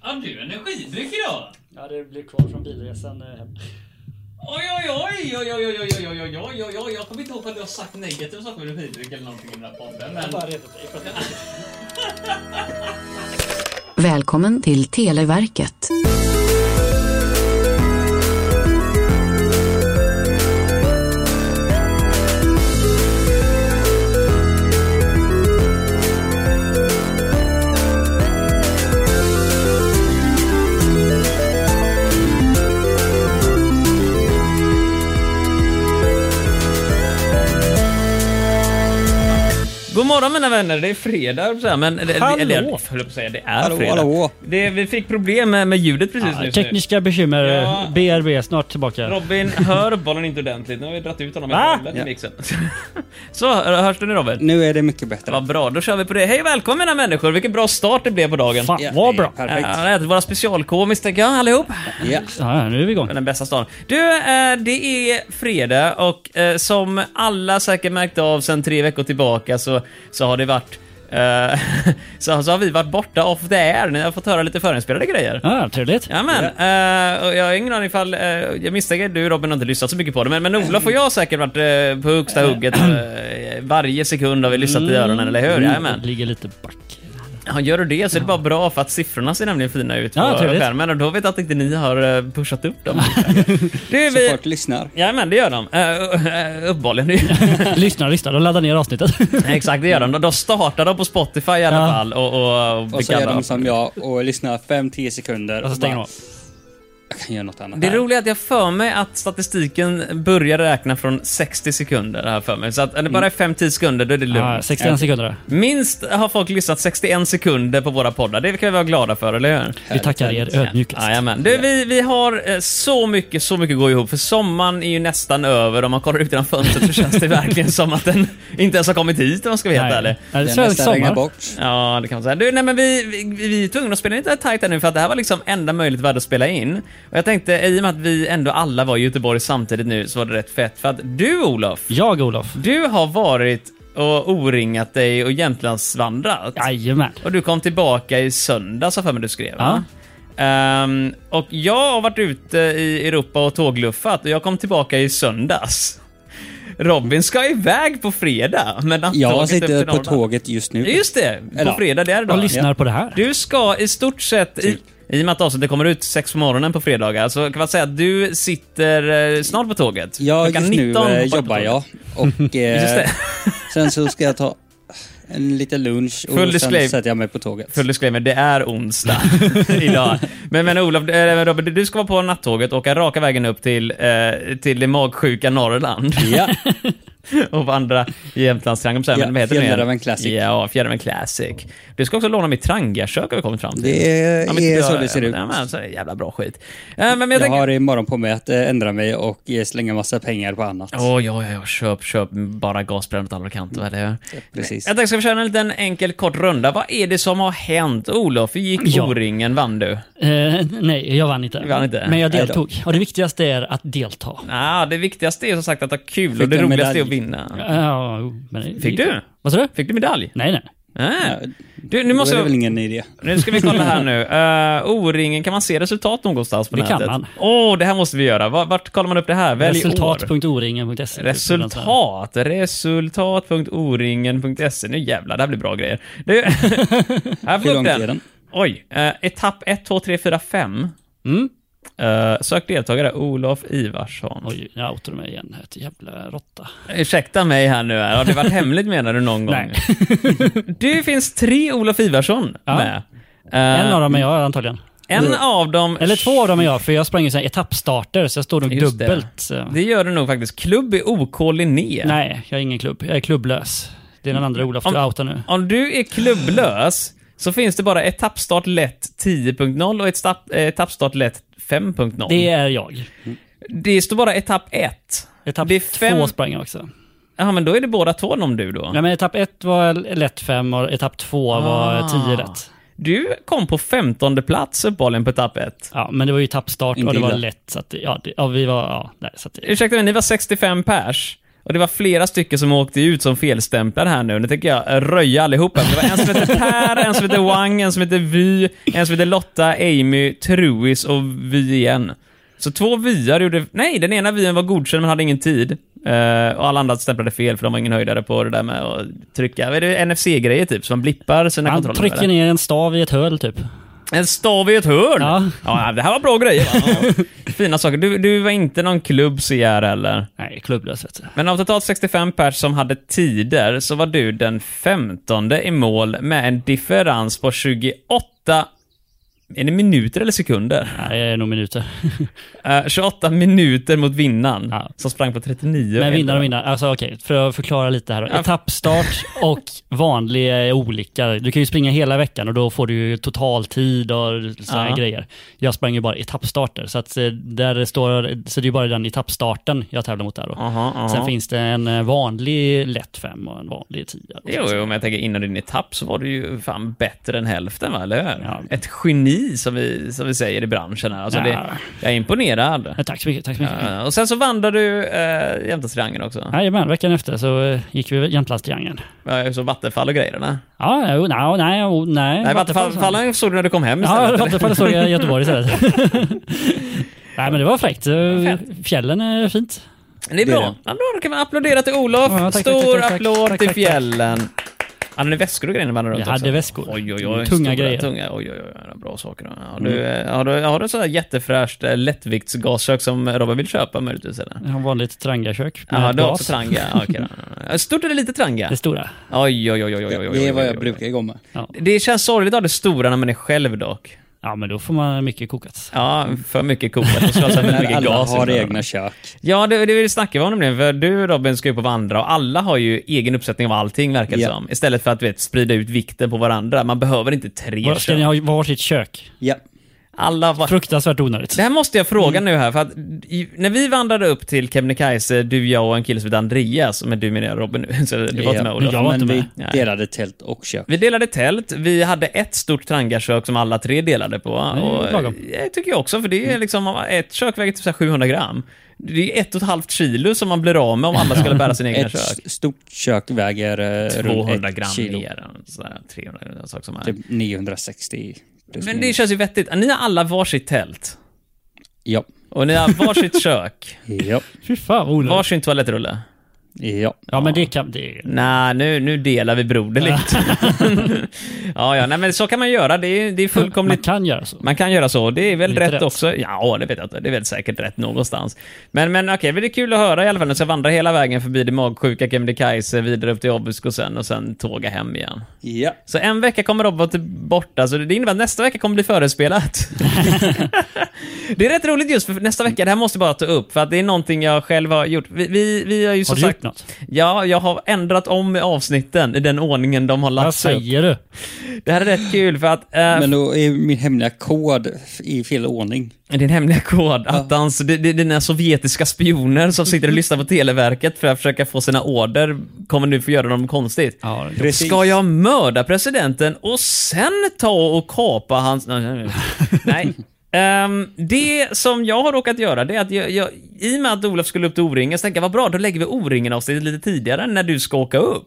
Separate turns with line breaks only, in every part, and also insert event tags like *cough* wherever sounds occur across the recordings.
Har du energidryck idag?
Ja, det blev kvar från bilresan eh, hem.
Oj, oj, oj, oj, oj, oj, oj, oj, oj, oj, oj, oj, jag kommer inte ihåg att du har sagt negativa saker med energidryck eller någonting i den här podden.
*laughs* Jag har
Men...
bara retat dig för att jag
Välkommen till Televerket.
God morgon mina vänner, det är fredag höll jag på att säga, men... Eller,
Hallå.
eller jag höll på att säga, det är
Hallå,
fredag.
hallå.
Det, vi fick problem med, med ljudet precis
Ja,
nyss.
tekniska bekymmer.
Ja.
BRB snart tillbaka.
Robin hör bollen inte ordentligt, nu har vi dragit ut honom i
Va?
golvet i
Ja.
mixen. *laughs* Så, hörs du nu Robert?
Nu är det mycket bättre.
Vad bra, då kör vi på det. Hej och välkomna människor, vilken bra start det blev på dagen.
Fan
Ja,
vad bra.
Ja,
Perfekt.
har ätit våra specialkomiskt tänker jag allihop.
Ja.
Ja, nu är vi igång.
Men Den bästa stan. Du, eh, det är fredag och eh, som alla säkert märkt av sen tre veckor tillbaka så, så har det varit eh, *laughs* så, så har vi varit borta off the air. Ni har fått höra lite förinspelade grejer.
Ja, trevligt.
Jajamän. Eh, och jag har ingen aning ifall... eh, jag misstänker du Robin har inte lyssnat så mycket på det, men, men Olof och jag har säkert varit eh, på högsta hugget. eh, varje sekund har vi lyssnat i öronen, eller hur? Jajamän.
Mm. Ligger lite back. *laughs*
Ja, gör du det så är det bara bra för att siffrorna ser nämligen fina ut på
Ja, trevligt.
skärmen och då vet jag att inte ni har eh, pushat upp
*laughs*
dem. du,
Så
vi...
folk lyssnar.
Jajamän, det gör de. Uh, uppenbarligen.
*laughs* lyssna, lyssna. De laddar ner avsnittet.
*laughs* Exakt, det gör de. De- De startar dem på Spotify i alla
Ja.
fall. Och, och, och
Och så
vilka
gör
andra-
de som jag och lyssnar 5-10 sekunder.
Och så stänger de
bara,
av.
Jag kan göra något annat.
Det
här."
roliga är att jag för mig att statistiken börjar räkna från 60 sekunder här för mig. Så att om det bara är 5-10 sekunder, då är det lugnt.
Ja, 61 sekunder.
Minst har folk lyssnat 61 sekunder på våra poddar. Det kan vi vara glada för, eller hur?
Vi tackar er ödmjukast.
Jajamän. Du, vi, vi har eh, så mycket, så mycket att gå ihop. För sommaren är ju nästan över. Om man kollar ut genom fönstret så känns det *laughs* verkligen som att den inte ens har kommit hit om man ska vara helt ärlig.
Nej. Nej, det är
Den
svensk
nästan regnar
sommar.
bort.
Ja, det kan man säga. Du, nej, men vi, vi, vi är tvungna att spela in lite tajt här nu för att det här var liksom enda möjligt värde att spela in. Och jag tänkte, i och med att vi ändå alla var i Göteborg samtidigt nu så var det rätt fett. För att du Olof,
Jag, Olof.
du har varit och oringat dig och Jämtlandsvandrat.
Jajamän.
Och du kom tillbaka i söndags har jag för mig du skrev.
Ja.
va? Ehm, och jag har varit ute i Europa och tågluffat och jag kom tillbaka i söndags. Robin ska iväg på fredag med
Jag
nattåget upp
sitter
till
på
Norrland.
tåget just nu.
Just det, på
Eller,
fredag det är
Och
idag.
lyssnar på det här.
Du ska i stort sett,
Typ.
i, i och med att avsnittet kommer ut sex på morgonen på fredagar, så kan man säga att du sitter eh, snart på tåget.
Ja,
Klockan
just nu
19 hoppar
eh,
du på
jobbar
tåget.
jag.
*laughs*
Och, eh,
Just det.
sen så ska jag ta en liten lunch och
Full disclaim-
sen sätter jag mig på tåget.
Full disclaimer, det är onsdag *laughs* idag. Men, men Olof, eh, Robert, du ska vara på nattåget och åka raka vägen upp till, eh, till det magsjuka Norrland *laughs*
Ja,
och vandra i Jämtlandstriangeln.
Ja,
Ja,
Fjällräven Classic.
Ja, Fjällräven Classic. Du ska också låna mitt trangiakök har vi kommit fram till.
det är,
*laughs* Ja, men typ
är så
jag-
det ser ut.
Ja, men, så är det jävla bra skit. Eh, Men, men jag,
Jag
tänker...
har imorgon på mig att eh, ändra mig och eh, slänga massa pengar på annat.
Åh, ja, ja, ja, köp, köp. Bara gasbrännare åt alla kanter, eller hur?
Mm. Precis.
Jag tänkte ska vi köra en liten enkel kort runda. Vad är det som har hänt? Olof, hur gick
Ja.
O-ringen? Vann du?
Eh, nej, jag vann inte.
Du vann inte?
Men jag
Nej då.
deltog. Och det viktigaste är att delta.
Ah, det viktigaste är som sagt att ha kul
Fick
och det
du en
roligaste är att
medalj?
vinna.
Ja, men det-
Fick du?
Vad sa du?
Fick du medalj?
Nej, nej.
Nej.
Ja,
Du, nu,
Då är det väl
måste,
ingen idé.
nu ska vi kolla här
*laughs*
nu. Uh, O-ringen, kan man se resultat någonstans på
Det
nätet?
kan man.
Åh, det här måste vi göra. Vart, vart kollar man upp det här? Välj år.
Resultat.oringen.se.
Resultat. Resultat.oringen.se. E. Nu jävlar, det här blir bra grejer.
*laughs*
Du, här får
Hur
vi upp
långt
den.
är den?
Oj. eh, etapp 1, 2, 3, 4, 5.
Mm.
Eh, sök deltagare, Olof Ivarsson.
Oj, jag outade mig igen. här, Ett jävla råtta.
Ursäkta mig här nu, här. har det varit hemligt menar du någon gång? *laughs*
Nej.
Det finns tre Olof Ivarsson
Ja.
med. Eh,
En av dem är jag antagligen.
en av dem...
Eller två av dem är jag, för jag sprang ju så här etappstarter, så jag står nog
Just det.
dubbelt. Så.
Det gör du nog faktiskt. Klubb är OK Linné.
Nej, jag är ingen klubb. Jag är klubblös. Det är den andra Olof du
Om-
outar nu.
Om du är klubblös så finns det bara etappstart lätt 10.0 och etapp, eh, etappstart lätt 5.0.
Det
Det,
är jag.
står bara etapp 1.
Etapp
Det är fem-
två sprang jag också.
Ja, men då är det båda två om du då.
Nej, men etapp ett var lätt fem och etapp två var
Ah.
tio rätt.
Du kom på 15 plats uppehålligen på etapp 1.
Ja, men det var ju etappstart
Inte
och det var
illa.
lätt, så att, det- ja, det, ja, vi var, ja, nej, så att, det-
Ursäkta mig, ni var 65 pers. Och det var flera stycken som åkte ut som felstämplade här nu. Nu tänker jag eh, röja allihopa. Men det var en som hette Per, en som hette Wang, en som hette Vy, en som hette Lotta, Amy, Truis och Vy igen. Så två vyar gjorde... Nej, den ena vyn var godkänd men hade ingen tid. Eh, och alla andra stämplade fel för de var ingen höjdare på det där med att trycka. Är det NFC-grejer typ? Så man blippar sina
Han
kontroller? eller?
trycker ner en stav i ett höl typ.
En stav i ett hörn?
Ja.
ja det här var bra grejer. Va? Ja. Fina saker. Du, du var inte någon klubb CR eller?
Nej, klubblös vet du.
Men av totalt 65 pers som hade tider så var du den 15 i mål med en differens på 28... Är det minuter eller sekunder?
Nej, det är nog minuter.
Eh, 28 minuter mot vinnaren
Ja.
som sprang på 39.
Men vinnare och vinnare. Alltså okej, för att förklara lite här. då.
*laughs*
Etappstart och vanlig är olika. Du kan ju springa hela veckan och då får du ju totaltid och sådana
Ja.
grejer. Jag sprang ju bara etappstarter, så, att, eh, där står, så det är ju bara den etappstarten jag tävlar mot där då.
Aha, aha.
Sen finns det en eh, vanlig lätt fem och en vanlig tia.
Jo, jo, men jag tänker innan din etapp så var du ju fan bättre än hälften, va? eller hur?
Ja.
Ett geni, som vi, som vi säger i branschen här. Alltså,
Ja.
det, jag är imponerad.
Eh, Tack så mycket. Tack så mycket.
Ja, och sen så vandrade du eh, Jämtlandstriangeln också.
Jajamän, veckan efter så eh, gick vi Jämtlandstriangeln.
Ja. Så Vattenfall och grejerna.
Ja, jo, nej, nej, jo, nej.
Nej, Vattenfallen såg du när du kom hem
Ja,
istället.
Vattenfall såg jag i
*laughs*
Göteborg istället. Nej men det var fräckt. Eh, Fjällen är fint.
det är
Det är
bra.
det.
Ja, då kan man applådera till Olof.
Ja, tack, tack,
Stor
tack, tack,
applåd
tack, tack,
till
tack.
fjällen. Hade ni väskor och grejer när ni vandrade
Jag
runt
hade
också?
väskor.
Oj, oj, oj.
Tunga
stora,
grejer. Mm.
Tunga, oj, oj, oj. Bra saker. då. Har du, eh, har du, har du sådär jättefräscht eh, lättviktsgaskök som Robin vill köpa möjligtvis? Eller?
Jag har vanligt trangakök. med
Ja, du har
glas.
också tranga. Ja, okej då.
*laughs*
Stort eller litet tranga?
Det stora.
Oj, oj, oj, oj, oj, oj, oj,
Det är vad
oj,
jag
oj.
brukar gå med.
Det känns sorgligt att ha det stora när man är själv dock.
Ja men då får man mycket kokat.
Ja, för mycket kokat och slösar väldigt mycket
Alla
gas. i
har
den.
egna kök.
Ja, det, det vill snacka om nämligen, för du Robin ska ju på vandra och alla har ju egen uppsättning av allting verkar det
Ja.
som. Istället för att du vet, sprida ut vikten på varandra. Man behöver inte tre
Var- Ska ni
kök.
ha varsitt kök?
Ja.
Alla var...
Fruktansvärt onödigt.
Det här måste jag
Mm.
fråga nu här, för att i, när vi vandrade upp till Kebnekaise, du, jag och en kille som heter Andreas, men du menar jag Robin *laughs* nu, så du var inte
Ja.
med Olof.
Jag var
Men
inte
vi
med.
Nej.
delade tält och kök.
Vi delade tält, vi hade ett stort trangakök som alla tre delade på.
det är
och,
lagom. Mm.
det tycker jag också, för det är liksom, ett kök väger typ så här 700 gram. Det är ett och ett halvt kilo som man blir av med om alla skulle bära
*laughs*
sina egna
Ett
kök.
s- stort kök väger eh, runt
200
ett
gram
kilo.
mer, än sådär 300 eller något sånt som är.
Typ 960. plus
Men det
minus.
känns ju vettigt. Ni har alla varsitt tält.
Ja.
Och ni
*laughs*
har varsitt kök.
Ja.
Fy fan vad
Mm.
onödigt.
Varsin toalettrulle.
Ja.
Ja men det kan... Det...
Nej, nu, nu delar vi broderligt.
*laughs*
ja, ja, nej men så kan man göra. Det är, det är
Man
fullkomligt
kan göra så.
Man kan göra så, det är väl
Lite
rätt,
rätt.
också. Ja, det vet jag inte. Det är väl säkert rätt någonstans. Men, men okej, men det är kul att höra i alla fall. Nu ska jag vandra hela vägen förbi det magsjuka Kebnekaise, vidare upp till Abisko och sen, och sen tåga hem igen.
Ja.
Så en vecka kommer Robin vara till- borta, så det innebär att nästa vecka kommer bli förespelat. det är rätt roligt just för nästa vecka, det här måste jag bara ta upp, för att det är någonting jag själv har gjort. Vi, vi, vi har ju
Har
som
du
sagt...
gjort något?
Ja, jag har ändrat om avsnitten i den ordningen de har
Vad
lagts upp.
säger du?
Det här är rätt kul för att... eh,
Men då är min hemliga kod f- i fel ordning.
Din hemliga kod, attans, det, det, dina sovjetiska spioner som sitter och lyssnar på Televerket för att försöka få sina order, kommer nu få göra dem konstigt.
Ja,
Precis.
Ska jag mörda presidenten och sen ta och kapa hans... Nej. nej, nej. nej. Ehm, det som jag har råkat göra, det är att jag, jag, i och med att Olof skulle upp till O-ringen, så tänkte jag vad bra, då lägger vi O-ringen avsnittet lite tidigare när du ska åka upp.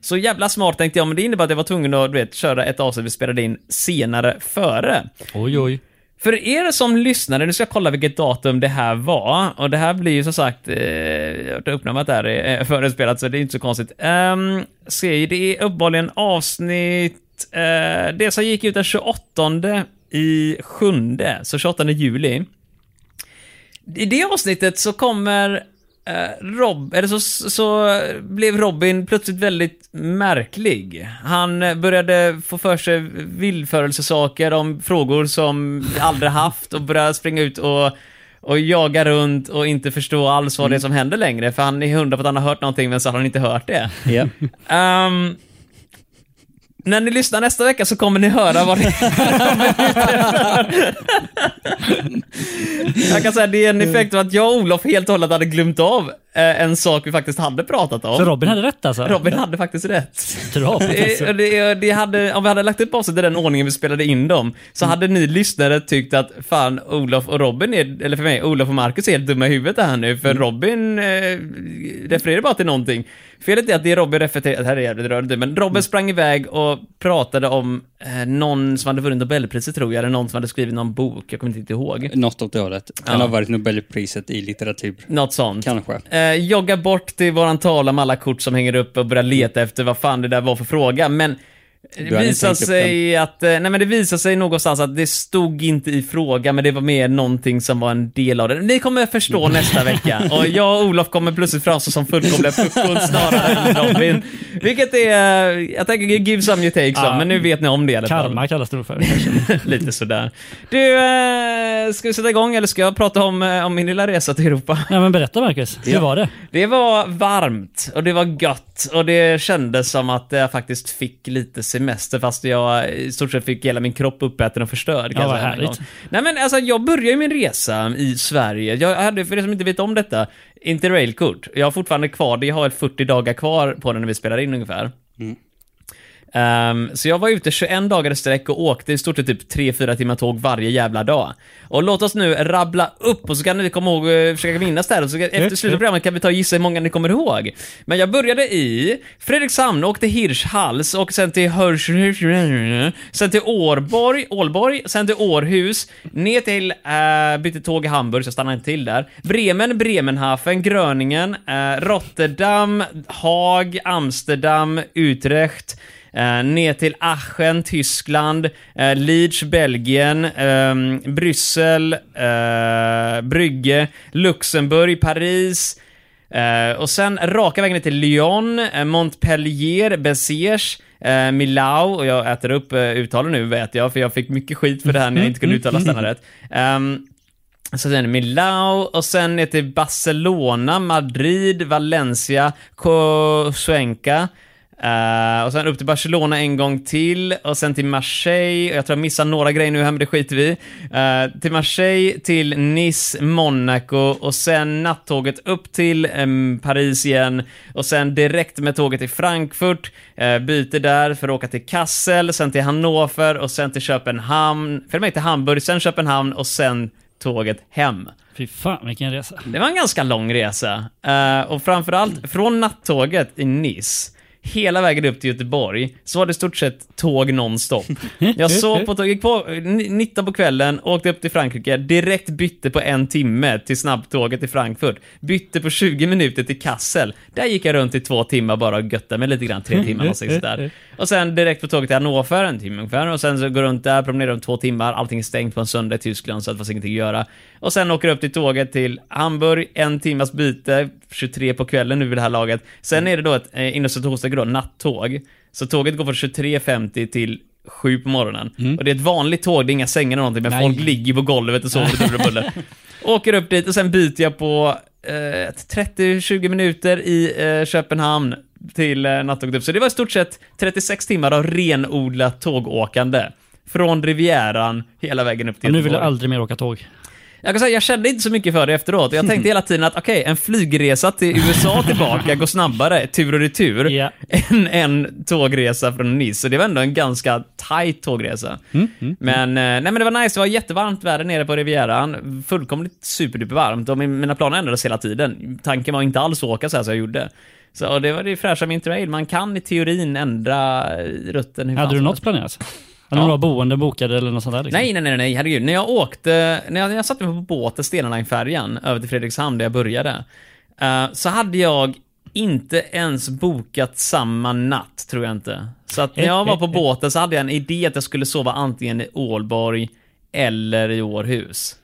Så jävla smart tänkte jag, men det innebär att jag var tvungen att du vet, köra ett avsnitt vi spelade in senare före.
oj oj.
För er som lyssnade, nu ska jag kolla vilket datum det här var. Och det här blir ju som sagt, eh, jag har uppnamnat där eh, *laughs* förespelat så det är inte så konstigt. Um, se, det är uppenbarligen avsnitt, eh, det som gick ut den 28 i sjunde, så 28 juli. I det avsnittet så kommer eh, Rob, eller så, så blev Robin plötsligt väldigt märklig. Han eh, började få för sig villförelsesaker om frågor som vi aldrig haft och började springa ut och och jaga runt och inte förstå alls vad det är som händer längre, för han är hundra på att han har hört någonting, men så har han inte hört det.
Ja.
Ehm, när ni lyssnar nästa vecka så kommer ni höra vad det är Jag kan säga det är en effekt av att jag och Olof helt och hållet hade glömt av eh, en sak vi faktiskt hade pratat om.
Så Robin hade rätt alltså?
Robin hade faktiskt rätt. *laughs*
Robin, alltså.
Det, det, det hade, om vi hade lagt upp avsnittet i den ordningen vi spelade in dem, så hade ni lyssnare tyckt att fan, Olof och Robin är, eller för mig, Olof och Marcus är helt dumma i huvudet här nu, för Robin eh, refererar bara till någonting. Felet är att det Robin refererar, det här är jävligt rörigt, men Robin sprang iväg och pratade om eh, någon som hade vunnit Nobelpriset tror jag, eller någon som hade skrivit någon bok, jag kommer inte riktigt ihåg.
Något åt det hållet. Han
Ja.
har varit Nobelpriset i litteratur.
Något sånt.
Kanske.
Eh, jogga bort till våran tavla med alla kort som hänger upp och börja leta efter vad fan det där var för fråga. Men det
Mm. hade
visar
inte tänkt upp
sig att, eh, nej men det visar sig någonstans att det stod inte i fråga, men det var mer någonting som var en del av det. Ni kommer förstå
Mm.
nästa vecka. Och jag och Olof kommer plötsligt framstå som fullkomliga puckon snarare än
*laughs*
Robin. Vilket är, eh, jag tänker give some you take some,
Ja.
men nu vet ni om det i alla fall.
Karma kallas det nog för.
*laughs*
*laughs*
Lite sådär. Du, eh, ska vi sätta igång eller ska jag prata om, eh, om min lilla resa till Europa?
Ja, men berätta Marcus, hur var det?
Det var varmt och det var gött och det kändes som att jag faktiskt fick lite semester fast jag i stort sett fick hela min kropp uppäten och förstörd. kan jag
Ja, vad
säga en
härligt.
gång. Nej men alltså jag började ju min resa i Sverige. Jag hade, för er som inte vet om detta, interrailkort. Jag har fortfarande kvar det, jag har 40 dagar kvar på den när vi spelar in ungefär. Ehm, så jag var ute 21 dagar i sträck och åkte i stort sett typ 3-4 timmar tåg varje jävla dag. Och låt oss nu rabbla upp och så kan ni komma ihåg, eh, försöka minnas det här och så efter slutet av programmet kan vi ta och gissa hur många ni kommer ihåg. Men jag började i Fredrikshamn, åkte Hirschhals och sen till Hörs... Sen till Årborg, Ålborg, sen till Århus, ner till, eh, bytte tåg i Hamburg så jag stannade inte till där. Bremen, Bremenhafen, Gröningen, eh, Rotterdam, Haag, Amsterdam, Utrecht. Eh, ner till Aachen, Tyskland, eh, Leeds, Belgien, ehm, Bryssel, eh, Brygge, Luxemburg, Paris. Eh, och sen raka vägen ner till Lyon, eh, Montpellier, Besiers, eh, Milau och jag äter upp eh, uttalen nu vet jag för jag fick mycket skit för det här när jag inte kunde uttala stanna rätt. Ehm, så sen är det Milao och sen är det till Barcelona, Madrid, Valencia, Cosuenca. Eh, och sen upp till Barcelona en gång till och sen till Marseille. Och jag tror jag missar några grejer nu här men det skiter vi i. Eh, Till Marseille, till Nice, Monaco och sen nattåget upp till em, Paris igen. Och sen direkt med tåget till Frankfurt. eh, byter där för att åka till Kassel, sen till Hannover och sen till Köpenhamn. Följ mig till Hamburg, sen Köpenhamn och sen tåget hem.
Fy fan vilken resa.
Det var en ganska lång resa. Eh, och framförallt från nattåget i Nice hela vägen upp till Göteborg så var det i stort sett tåg nonstop. Jag sov på tåg, gick på eh, ni- 19 på kvällen, åkte upp till Frankrike, direkt bytte på en timme till snabbtåget till Frankfurt, bytte på 20 minuter till Kassel. Där gick jag runt i två timmar bara och göttade mig lite grann, tre timmar och sådär. Och sen direkt på tåget till Hannover, en timme ungefär, och sen så går jag runt där, promenerar om två timmar, allting är stängt på en söndag i Tyskland så det fanns ingenting att göra. Och sen åker jag upp till tåget till Hamburg, en timmas byte, 23 på kvällen nu vid det här laget. Sen är det då ett eh, innerstadshosta då, nattåg. Så tåget går från 23.50 till 7 på morgonen. Och det är ett vanligt tåg, det är inga sängar eller någonting, men folk ligger på golvet och sover till buller och
*laughs*
buller. Åker upp dit och sen byter jag på eh, 30-20 minuter i eh, Köpenhamn till eh, nattåget upp. Så det var i stort sett 36 timmar av renodlat tågåkande. Från Rivieran hela vägen upp till
Och nu vill jag
Göteborg.
aldrig mer åka tåg.
Jag kan säga, jag kände inte så mycket för det efteråt. Jag tänkte hela tiden att okej, en flygresa till USA tillbaka går snabbare, tur och retur,
Ja.
än en tågresa från Nice. Så det var ändå en ganska tight tågresa. men, eh, nej, men det var nice, det var jättevarmt väder nere på Rivieran. Fullkomligt superdupervarmt och min- mina planer ändrades hela tiden. Tanken var inte alls att åka så här som jag gjorde. Så det var det fräscha med interrail, man kan i teorin ändra eh, rutten. hur fan
Hade du
som helst.
något planerat? Hade du några boende bokade eller något sånt där? Liksom?
Nej, nej, nej, nej, herregud. När jag åkte, när jag, när jag satte mig på båten, Stena Line-färjan, över till Fredrikshamn där jag började, eh, så hade jag inte ens bokat samma natt, tror jag inte. Så att när jag var på båten så hade jag en idé att jag skulle sova antingen i Ålborg eller i Århus.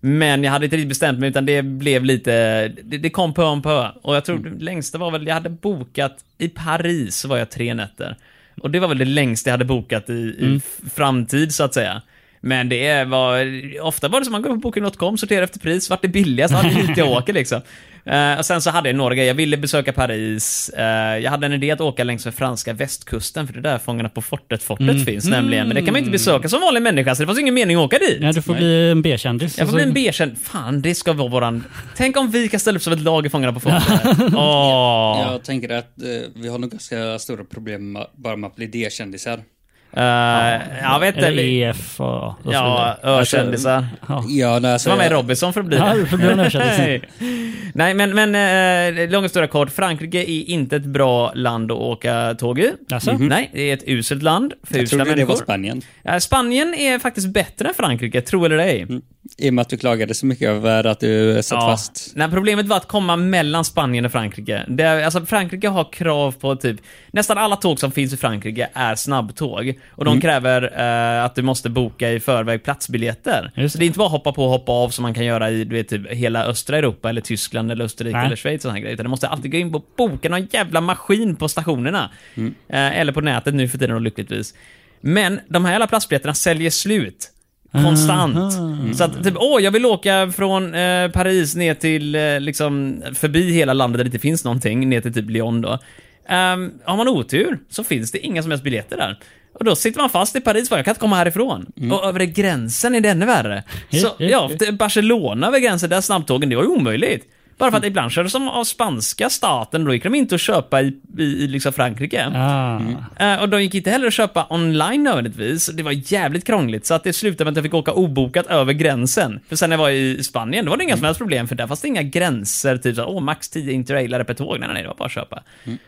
Men jag hade inte riktigt bestämt mig, utan det blev lite, det, det kom pö om pö. Och jag tror det längsta var väl, jag hade bokat, i Paris så var jag tre nätter. Och det var väl det längsta jag hade bokat i, i f- framtid, så att säga. Men
*laughs*
det var, ofta var det som man går på Booking.com, sorterar efter pris, vart det billigast, ja, det är hit jag åker liksom. Eh, och sen så hade jag några grejer. Jag ville besöka Paris. Eh, jag hade en idé att åka längs med franska västkusten, för det är där Fångarna på fortet-fortet
Mm.
finns nämligen. Men det kan man ju inte besöka som vanlig människa, så det fanns ingen mening att åka dit.
Nej, du får bli en B-kändis.
Jag får
Alltså,
bli en B-känd. Fan, det ska vara våran... Tänk om vi kan ställa upp som ett lag i Fångarna på
*laughs*
fortet. Åh.
Jag tänker att eh, vi har nog ganska stora problem med, bara med att bli D-kändisar.
Eh, jag vet inte.
Eller
vi-
EF och, och så
Ja,
vidare.
örkändisar.
Ja.
Ja, nej, alltså,
Så var med i
jag-
Robinson för att bli
Ja,
det.
du får bli en örkändis.
*laughs* Nej. Nej, men, men eh, långa stora kort. Frankrike är inte ett bra land att åka tåg i. Mhm.
Alltså?
Nej, det är ett uselt land för
Jag
usla
trodde det var
människor.
Spanien.
Eh, Spanien är faktiskt bättre än Frankrike, tro eller ej.
I och med att du klagade så mycket över att du satt fast.
Nej, problemet var att komma mellan Spanien och Frankrike. Det, alltså, Frankrike har krav på typ... Nästan alla tåg som finns i Frankrike är snabbtåg. Och de kräver eh, att du måste boka i förväg platsbiljetter.
Just
Så det är inte bara hoppa på och hoppa av som man kan göra i du vet, typ, hela östra Europa, eller Tyskland, eller Österrike,
Nej.
eller Schweiz. Och såna här grejer. Utan du måste alltid gå in på boka någon jävla maskin på stationerna. Eh, eller på nätet nu för tiden, då, lyckligtvis. Men de här jävla platsbiljetterna säljer slut. Konstant. Så att typ, åh, jag vill åka från eh, Paris ner till, eh, liksom, förbi hela landet där det inte finns någonting, ner till typ Lyon då. Ehm, har man otur så finns det inga som helst biljetter där. Och då sitter man fast i Paris, bara, jag kan inte komma härifrån. Och över gränsen är det ännu värre. Så, ja, till Barcelona över gränsen, där snabbtågen, det var ju omöjligt. Bara för att ibland kördes de av spanska staten, då gick de inte att köpa i, i, i liksom Frankrike.
Ah.
Eh, Och de gick inte heller att köpa online nödvändigtvis. Det var jävligt krångligt, så att det slutade med att jag fick åka obokat över gränsen. För sen när jag var i Spanien, då var det inga som helst problem, för där fanns det inga gränser. Typ såhär, åh, max 10 interrailare per tåg. Nej, nej, nej, det var bara att köpa.
Mm.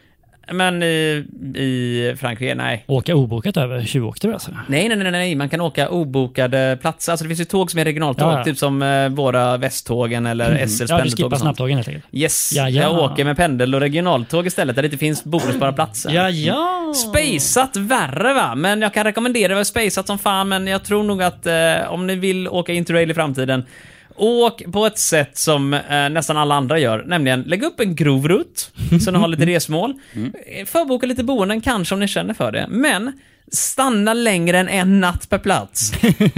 Men i, i Frankrike, nej.
Åka obokat över, tjuvåkte du alltså?
Nej, nej, nej, nej, man kan åka obokade platser. Alltså det finns ju tåg som är regionaltåg,
Ja, ja.
typ som eh, våra Västtågen eller SLs
Ja, du
pendeltåg
skippar
och sånt.
snabbtågen helt enkelt.
Yes,
Ja, ja.
jag åker med pendel och regionaltåg istället, där det inte finns bonusbara platser.
ja.
Spaceat värre va, men jag kan rekommendera det. Spaceat som fan, men jag tror nog att eh, om ni vill åka interrail i framtiden, åk på ett sätt som eh, nästan alla andra gör, nämligen lägg upp en grov rutt, så ni har lite resmål. Eh, Förboka lite boenden kanske om ni känner för det, men Stanna längre än en natt per plats.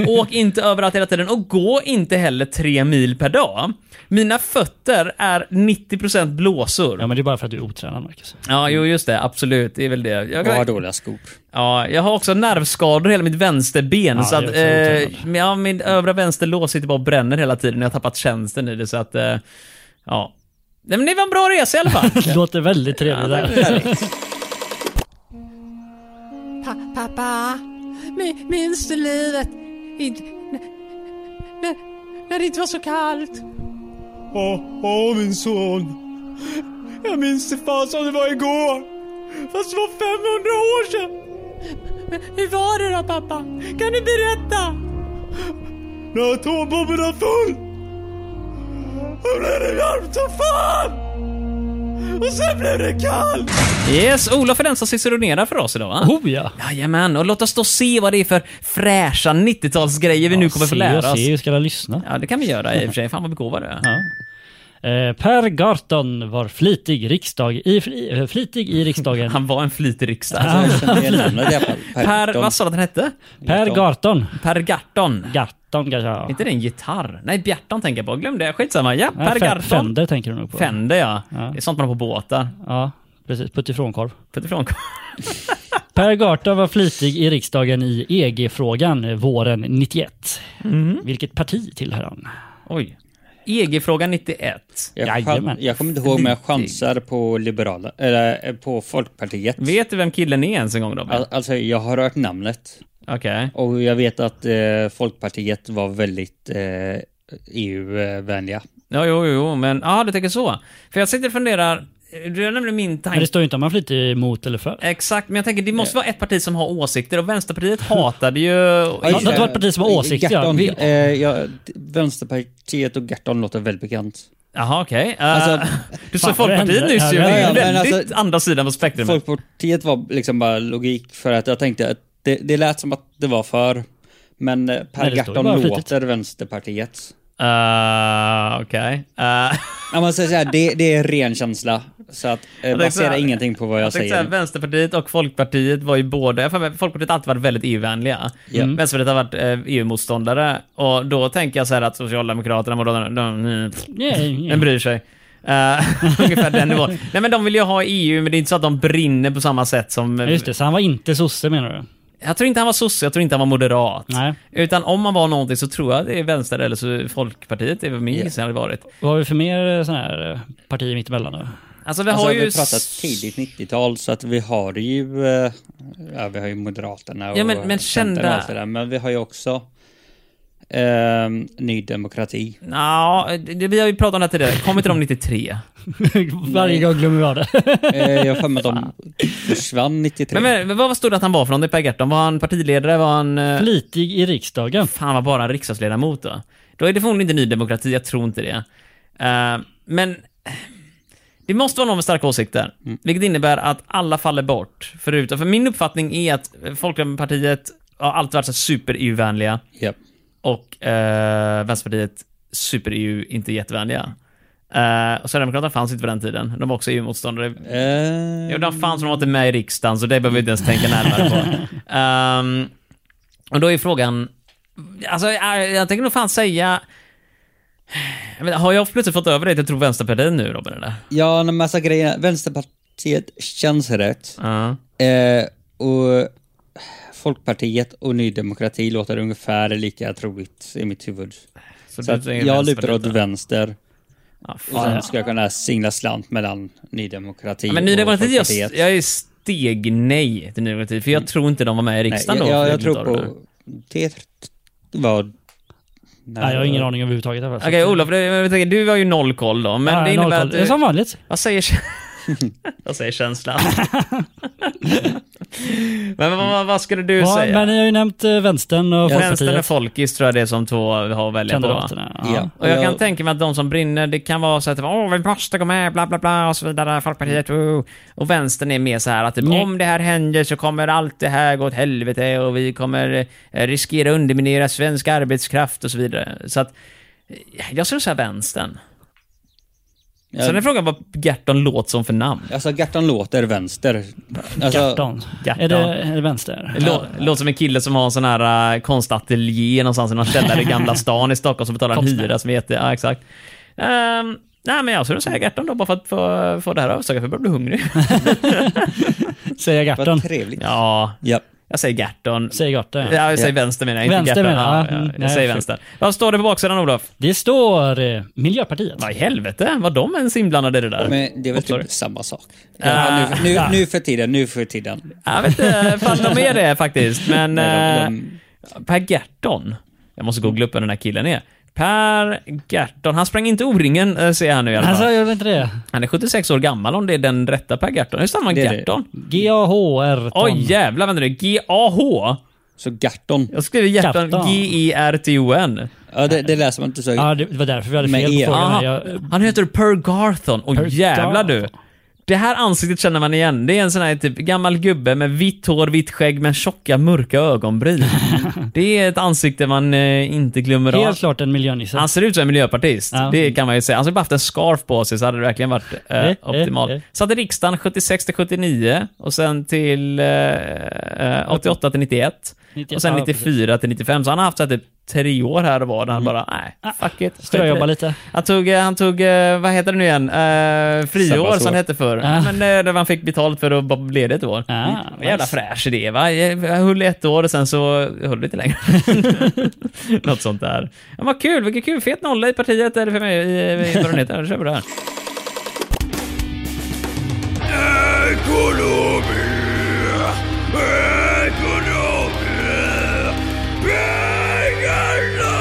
Åk inte överallt hela tiden och gå inte heller tre mil per dag. Mina fötter är 90% blåsor.
Ja, men det är bara för att du är otränad, Marcus.
Ja, jo, just det. Absolut. Det är väl det. Jag
Och har dåliga skor.
Ja, jag har också nervskador i hela mitt vänsterben.
Ja,
så
det
att,
är också
eh,
otrevligt.
men ja, min övre vänsterlås sitter bara och bränner hela tiden. Jag har tappat tjänsten i det, så att... Eh, ja. Nej, men det var en bra resa i alla
*laughs*
fall.
Det låter väldigt trevligt där.
Pa pappa, mi- minns du livet? Inte, när, när det inte var så kallt?
Åh, åh min son. Jag minns det fan som det var igår. Fast det var 500 år sedan.
Men hur var det då pappa? Kan du berätta?
När atombomben var full. Då blev det varmt som fan. Och sen blev det kallt.
yes, Olof är den som ciceronerar för oss idag, va?
Oh ja!
Jajamän, och låt oss då se vad det är för fräscha 90-talsgrejer vi nu kommer få lära oss.
Se, se, ska alla lyssna?
Ja, det kan vi göra i och för sig. Fan vad begåvad du är.
Eh, Per Garton var flitig, riksdag i, fri- eh, flitig i riksdagen.
Han var en flitig riksdag.
Ah.
Jag kände igen namnet i alla
*laughs*
fall.
Per,
Tom.
vad sa du att han hette?
Per Garton.
Per Garton.
Garton kanske? ja.
Är inte det en gitarr? Nej, Bjarton tänker jag på. Glöm det. Skitsamma. Ja,
Nej,
Per
Fe-
Garton.
Fender tänker du nog på.
Fender ja.
Ja.
Det är sånt man har på båtar.
Ja, precis. Puttifrånkorv.
Puttifrån.
Per Garton var flitig i riksdagen i EG-frågan eh, våren 91.
Mm.
Vilket parti tillhör han?
Oj. EG-fråga 91.
Jag,
Jajamän.
chan- jag kommer inte ihåg, men jag
Flitig.
chansar på Liberala, eller eh, på Folkpartiet.
Vet du vem killen är ens en gång Robin?
Al- Alltså, jag har hört namnet.
Okej.
Och jag vet att eh, Folkpartiet var väldigt eh, EU-vänliga.
Ja, jo, jo, jo, men ja, du tänker så. För jag sitter och funderar, du har nämligen min
Men
tanke.
det står ju inte om han flitig mot eller för.
Exakt, men jag tänker det måste vara ett parti som har åsikter och Vänsterpartiet hatade ju...
just det. det var ett parti som har åsikter, ja.
Gerton,
Vi-
eh, ja, d- Vänsterpartiet och Gerton låter väldigt bekant.
Jaha, okej. Eh,
Alltså,
*laughs* du sa
fan, vad
Folkpartiet
hände?
nyss ju.
Ja,
Det är
ja,
ju
men
väldigt
alltså-
andra sidan på spektrumet.
Folkpartiet var liksom bara logik för att jag tänkte att det, det lät som att det var för. Men eh,
Nej,
Per
det står ju bara
Gerton
flitigt.
låter Vänsterpartiet.
Eh, okej. Eh, *laughs*
Ja, man säger så här, det, det är ren känsla. Så att eh,
tänkte så
basera
här-
ingenting på vad jag,
Jag tänkte
säger.
såhär, Vänsterpartiet och Folkpartiet var ju båda, jag får med- Folkpartiet har alltid varit väldigt EU-vänliga.
Ja.
Vänsterpartiet har varit eh,
Mm.
EU-motståndare och då tänker jag så här att Socialdemokraterna, de, de, de,
Nej,
de
nej.
bryr sig. Eh, *laughs* ungefär den nivån. Nej men de vill ju ha EU, men det är inte så att de brinner på samma sätt som...
Ja, Just det, så han var inte sosse menar du?
Jag tror inte han var sosse, jag tror inte han var moderat.
Nej.
Utan om han var någonting så tror jag det är vänster eller så Folkpartiet, det är väl min gissning hade varit.
Vad har vi för mer sådana här eh, partier
*laughs*
mittemellan nu?
Alltså vi har
alltså,
ju...
vi pratat tidigt 90-tal så att vi har ju, eh, ja, vi har ju Moderaterna och
Ja, men- men
Centern och allt
kända-
det där, men vi har ju också eh, Ny Demokrati.
Ja, det, vi har ju pratat om det här tidigare. Kom
*laughs*
inte de 93?
Varje gång
*laughs*
glömmer jag det.
Eh, jag har för mig att de försvann 93.
Men, men vad stod det att han var för någonting, Per Gerton? Var han partiledare? Var han... eh,
Flitig i riksdagen.
Fan, han var bara en riksdagsledamot då. Då är det förmodligen inte Ny Demokrati, jag tror inte det. Eh, men det måste vara någon med starka åsikter, vilket innebär att alla faller bort. Förutom, för min uppfattning är att Folkpartiet har alltid varit så super-EU-vänliga
Japp.
och eh, Vänsterpartiet super-EU, inte jättevänliga. Eh, och Sverigedemokraterna fanns inte på den tiden. De var också EU-motståndare.
Eh,
Jo, de fanns, de var inte med i riksdagen, så det behöver vi inte ens tänka närmare på. Ehm, och då är frågan, alltså jag, jag tänker nog fan säga, jag vet, har jag plötsligt fått över dig att jag tror Vänsterpartiet nu Robin eller?
ja, en massa grejer. Vänsterpartiet känns rätt.
Ja.
Eh, och Folkpartiet och Ny Demokrati låter ungefär lika troligt i mitt huvud.
Så
Så
du
att
tänker
jag lutar
Vänsterpartiet
åt
då?
vänster.
Ja,
Och
fan.
sen ska jag kunna singla slant mellan Ny Demokrati
Ja, men Ny
och
Demokrati, jag,
Folkpartiet.
jag är steg nej till Ny Demokrati, för jag tror inte de var med i
Mm. Nej,
riksdagen
jag,
då.
jag,
för
jag
det
tror
tar det.
på... Det var...
Nej, jag har ingen aning överhuvudtaget. Alltså.
Okej Olof, det- jag tänker, du har ju noll koll då, men det innebär att
Det är
du,
som vanligt.
Vad säger, vad säger känslan? *laughs* men vad, vad, vad skulle du
Ja,
säga?
men ni har ju nämnt eh, vänstern och
Vänstern och
Folkpartiet.
folkis tror jag det är som två har att välja på.
Kandidaterna.
Ja.
Ja.
Och jag kan tänka mig att de som brinner, det kan vara så att åh, vi måste gå med, bla bla bla och så vidare, Folkpartiet, oh. Och vänstern är mer så här att typ,
Nej.
om det här händer så kommer allt det här gå åt helvete och vi kommer eh, riskera att underminera svensk arbetskraft och så vidare. Så att, eh, jag skulle säga vänstern.
Ja.
Sen är frågan vad Gerton låter som för namn.
Alltså Gerton låter vänster. Alltså,
Gerton.
Gerton.
Är det, är det vänster?
Lå, Låter som en kille som har en sån här uh, konstateljé någonstans i någon källare i
*laughs*
Gamla stan i Stockholm som betalar en
Konstnär.
hyra som är jätte... Ja, exakt. Ehm, nej, men jag skulle säga Gerton då, bara för att få, få det här överstökat, för jag börjar bli
*laughs*
hungrig.
Säger Gerton.
Vad trevligt. Ja.
ja, jag säger Gerton.
Säger Gerton. ja.
Ja, jag säger vänster menar jag, inte
Vänster
Gerton.
menar jag.
Ja, ja,
Mm,
jag
nej,
säger
shit.
vänster. Vad står det på baksidan, Olof?
Det står eh, Miljöpartiet.
Vad i helvete, var de ens inblandade i det där?
Men det är väl
Sorry. Ah,
typ samma sak. Ja, nu, nu, nu för tiden, nu för tiden.
Jag vet
*laughs*
inte, fan de är det faktiskt, men...
Nej,
eh,
de, de,
Per Gerton. Jag måste googla upp vem den här killen är. Per Gerton. Han sprang inte O-ringen, eh, ser jag här nu i alla
Alltså,
fall.
jag vet inte det.
Han är 76 år gammal om det är den rätta Per Gerton. Hur stavar man
Det är det.
Gerton?
G-A-H-R.
Oj jävlar, vänta nu. G-A-H.
så Gerton.
Jag skriver Gerton
Gerton.
G-E-R-T-O-N.
Ja, det, det läser man inte så.
Ja, det var därför vi hade
Med
fel på
E.
frågan.
Aha,
här. Jag,
Ah, Han heter Per Garthon. Oj
Per
jävlar du. Det här ansiktet känner man igen. Det är en sån här typ gammal gubbe med vitt hår, vitt skägg men tjocka mörka ögonbryn. Det är ett ansikte man eh, inte glömmer av.
helt klart en miljönisse.
Han ser ut som en miljöpartist.
Ja.
Det kan man ju säga. Han skulle bara haft en scarf på sig så hade det verkligen varit eh,
Eh,
optimalt.
eh, eh.
Satt i riksdagen 76 till 79 och sen till eh, eh, 88 till 91.
91,
Och sen
ja,
94 till 95. Så han har haft så här, typ tre år här och var där han
Mm.
bara,
Ah,
nej, fuck it. skit i
Ströjobba
det.
lite.
Han tog, eh, han tog eh, vad heter det nu igen, eh, friår
Sabbatsår.
som det hette förr.
Ah.
Men eh, där man fick betalt för att bara bli ledig ett år.
Ah,
Mm. Jävla
nice.
fräsch idé va? Jag höll i ett år och sen så jag höll lite längre. *laughs* Något sånt där. Ja, vad kul, vilken kul, fet nolla i partiet eller för mig, i, i vad den heter. Nu kör vi det här.
Ekonomi! Ekonomi! Pengarna!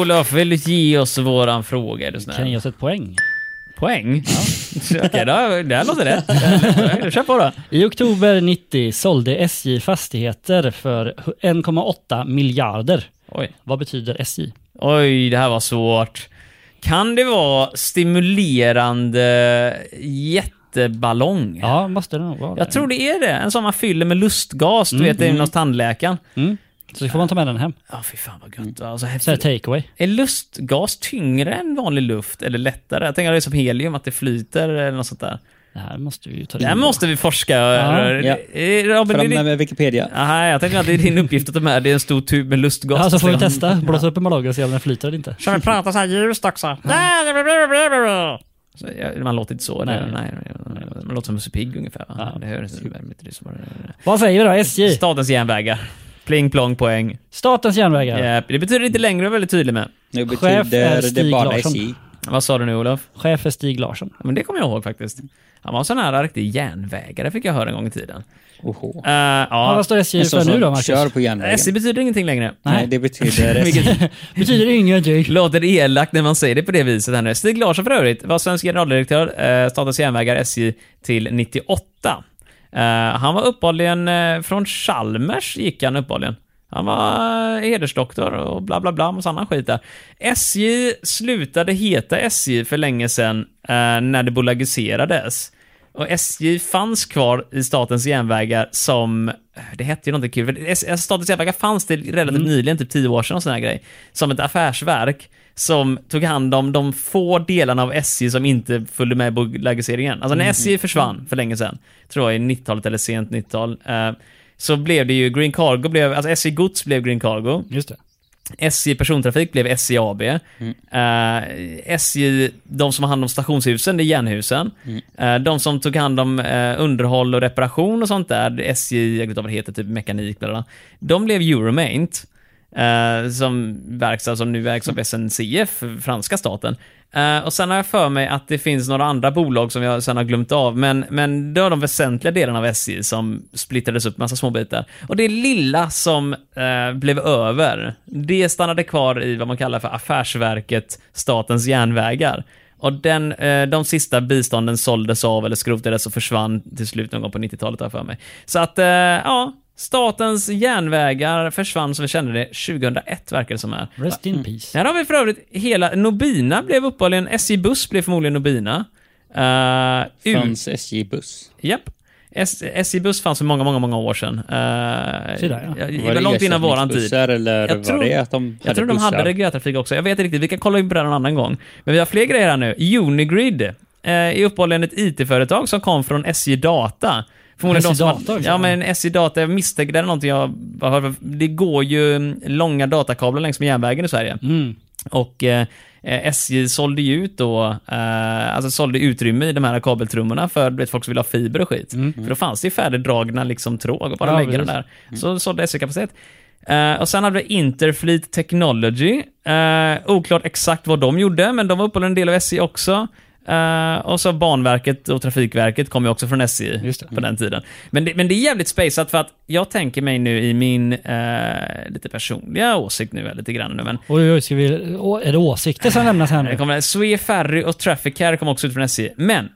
Olof, vill du ge oss våran fråga? Är du snäll?
Kan ge oss ett poäng.
Poäng? *laughs* Okej, då- det här låter rätt.
*laughs*
Ja, Kör på då.
I oktober 90 sålde SJ fastigheter för 1,8 miljarder.
Oj.
Vad betyder SJ?
Oj, det här var svårt. Kan det vara stimulerande jätteballong?
Ja, måste det nog vara
Jag
det.
tror det är det. En sån man fyller med lustgas, du vet, det är ju hos tandläkaren.
Mm. Så får man ta med den hem.
Ja, fy fan vad gött. Alltså,
Så här
häftigt.
takeaway.
Är lustgas tyngre än vanlig luft eller lättare? Jag tänker att det är som helium, att det flyter eller något sånt där.
Det här måste vi ju ta
Det här
reda på.
måste vi forska.
ja.
Eh, Robin, det är
Fram
din...
med Wikipedia.
Aha, jag tänker att det är din uppgift att ta med dig en stor tub med lustgas.
Ja, så får vi testa. Blåsa upp en malaga och se om den flyter eller inte.
Kan vi prata så här ljust också? Ja. Så, ja, man låter inte så.
Nej.
Nej. Nej, man låter som Musse Pigg ungefär. Va? Det hörs inte. Det
Vad säger vi då? SJ?
Statens järnvägar. Pling plong poäng.
Statens järnvägar.
Japp, Det betyder inte längre, jag är väldigt tydlig med.
Nu
Chef är
betyder
Stig
det bara
Larsson.
SJ.
Vad sa du nu Olof?
Chef är Stig Larsson.
Ja, Men det kommer jag ihåg faktiskt. Han var en sån här riktig järnvägare fick jag höra en gång i tiden.
Oho.
Eh,
Ja.
ja,
vad står SJ
En sån
för nu
som
då, Marcus?
Kör på järnvägen.
SJ betyder ingenting längre.
Nej, det betyder SJ.
*laughs* Vilket
Betyder
*laughs*
det ingenting?
låter elakt när man säger det på det viset. Här nu. Stig Larsson för övrigt var svensk generaldirektör, eh, Statens Järnvägar, SJ, till 98. Eh, han var uppehållligen, eh, från Chalmers gick han uppehållligen. Han var eh, hedersdoktor och bla bla bla, massa annan skit där. SJ slutade heta SJ för länge sedan eh, när det bolagiserades. Och SJ fanns kvar i Statens Järnvägar som, det hette ju någonting kul, för S- S- Statens Järnvägar fanns till relativt nyligen, typ 10 år sedan och sån här grej, som ett affärsverk som tog hand om de få delarna av SJ som inte följde med i bolagiseringen. Alltså när SJ försvann för länge sedan, tror jag i 90-talet eller sent 90-tal, eh, så blev det ju Green Cargo, blev, alltså SJ Gods blev Green Cargo.
Just det.
SJ persontrafik blev SJ AB. Eh, SJ, de som har hand om stationshusen, det är Jernhusen. Eh, de som tog hand om eh, underhåll och reparation och sånt där, det är SJ, jag vet inte vad det heter, typ mekanik, bla bla, bla. De blev Euromaint. eh, som verkstad som nu ägs av SNCF, franska staten. Eh, och sen har jag för mig att det finns några andra bolag som jag sen har glömt av, men, men det var de väsentliga delarna av SJ som splittrades upp i massa små bitar. Och det lilla som eh, blev över, det stannade kvar i vad man kallar för affärsverket Statens Järnvägar. Och den, eh, de sista bistånden såldes av eller skrotades och försvann till slut någon gång på 90-talet har jag för mig. Så att, eh, ja, Statens Järnvägar försvann som vi kände det 2001 verkar det som här.
Rest in peace.
Här har vi för övrigt hela Nobina blev uppehållligen, SJ Buss blev förmodligen Nobina. Uh,
Fanns SJ buss.
Japp. S- SJ Buss fanns för många, många, många år sedan. Eh,
Se där, ja.
det var långt innan våran tid.
ersättningsbussar eller
Jag
var
tror-
det att de hade
Jag tror de hade
bussar?
reguljärtrafik också. Jag vet inte riktigt, vi kan kolla in på det här en annan gång. Men vi har fler grejer här nu. Unigrid eh, är uppehållligen ett IT-företag som kom från SJ Data. Förmodligen
SJ
de som har-
Data liksom. också?
Ja, men SJ Data, jag misstänker det är någonting jag bara hört. Det går ju mm, långa datakablar längs med järnvägen i Sverige.
Mm.
Och eh, eh, SJ sålde ju ut då, eh, alltså sålde utrymme i de här kabeltrummorna för du vet, folk som vill ha fiber och skit. För då fanns det ju färdigdragna liksom, tråg och bara
Mm. Ja, Mm.
lägga den
precis.
där. Så sålde SJ kapacitet. Eh, och sen hade vi Interfleet Technology. Eh, oklart exakt vad de gjorde, men de var uppehållen en del av SJ också. Eh, och så Banverket och Trafikverket kom ju också från SJ
Just det.
på den tiden. Men det, men det är jävligt spejsat för att jag tänker mig nu i min eh, lite personliga åsikt nu, här lite grann nu, men
Oj, oj, ska vi... Å, är det åsikter som lämnas här
det
nu?
kommer, Swee Ferry och Trafficare kom också ut från SJ. Men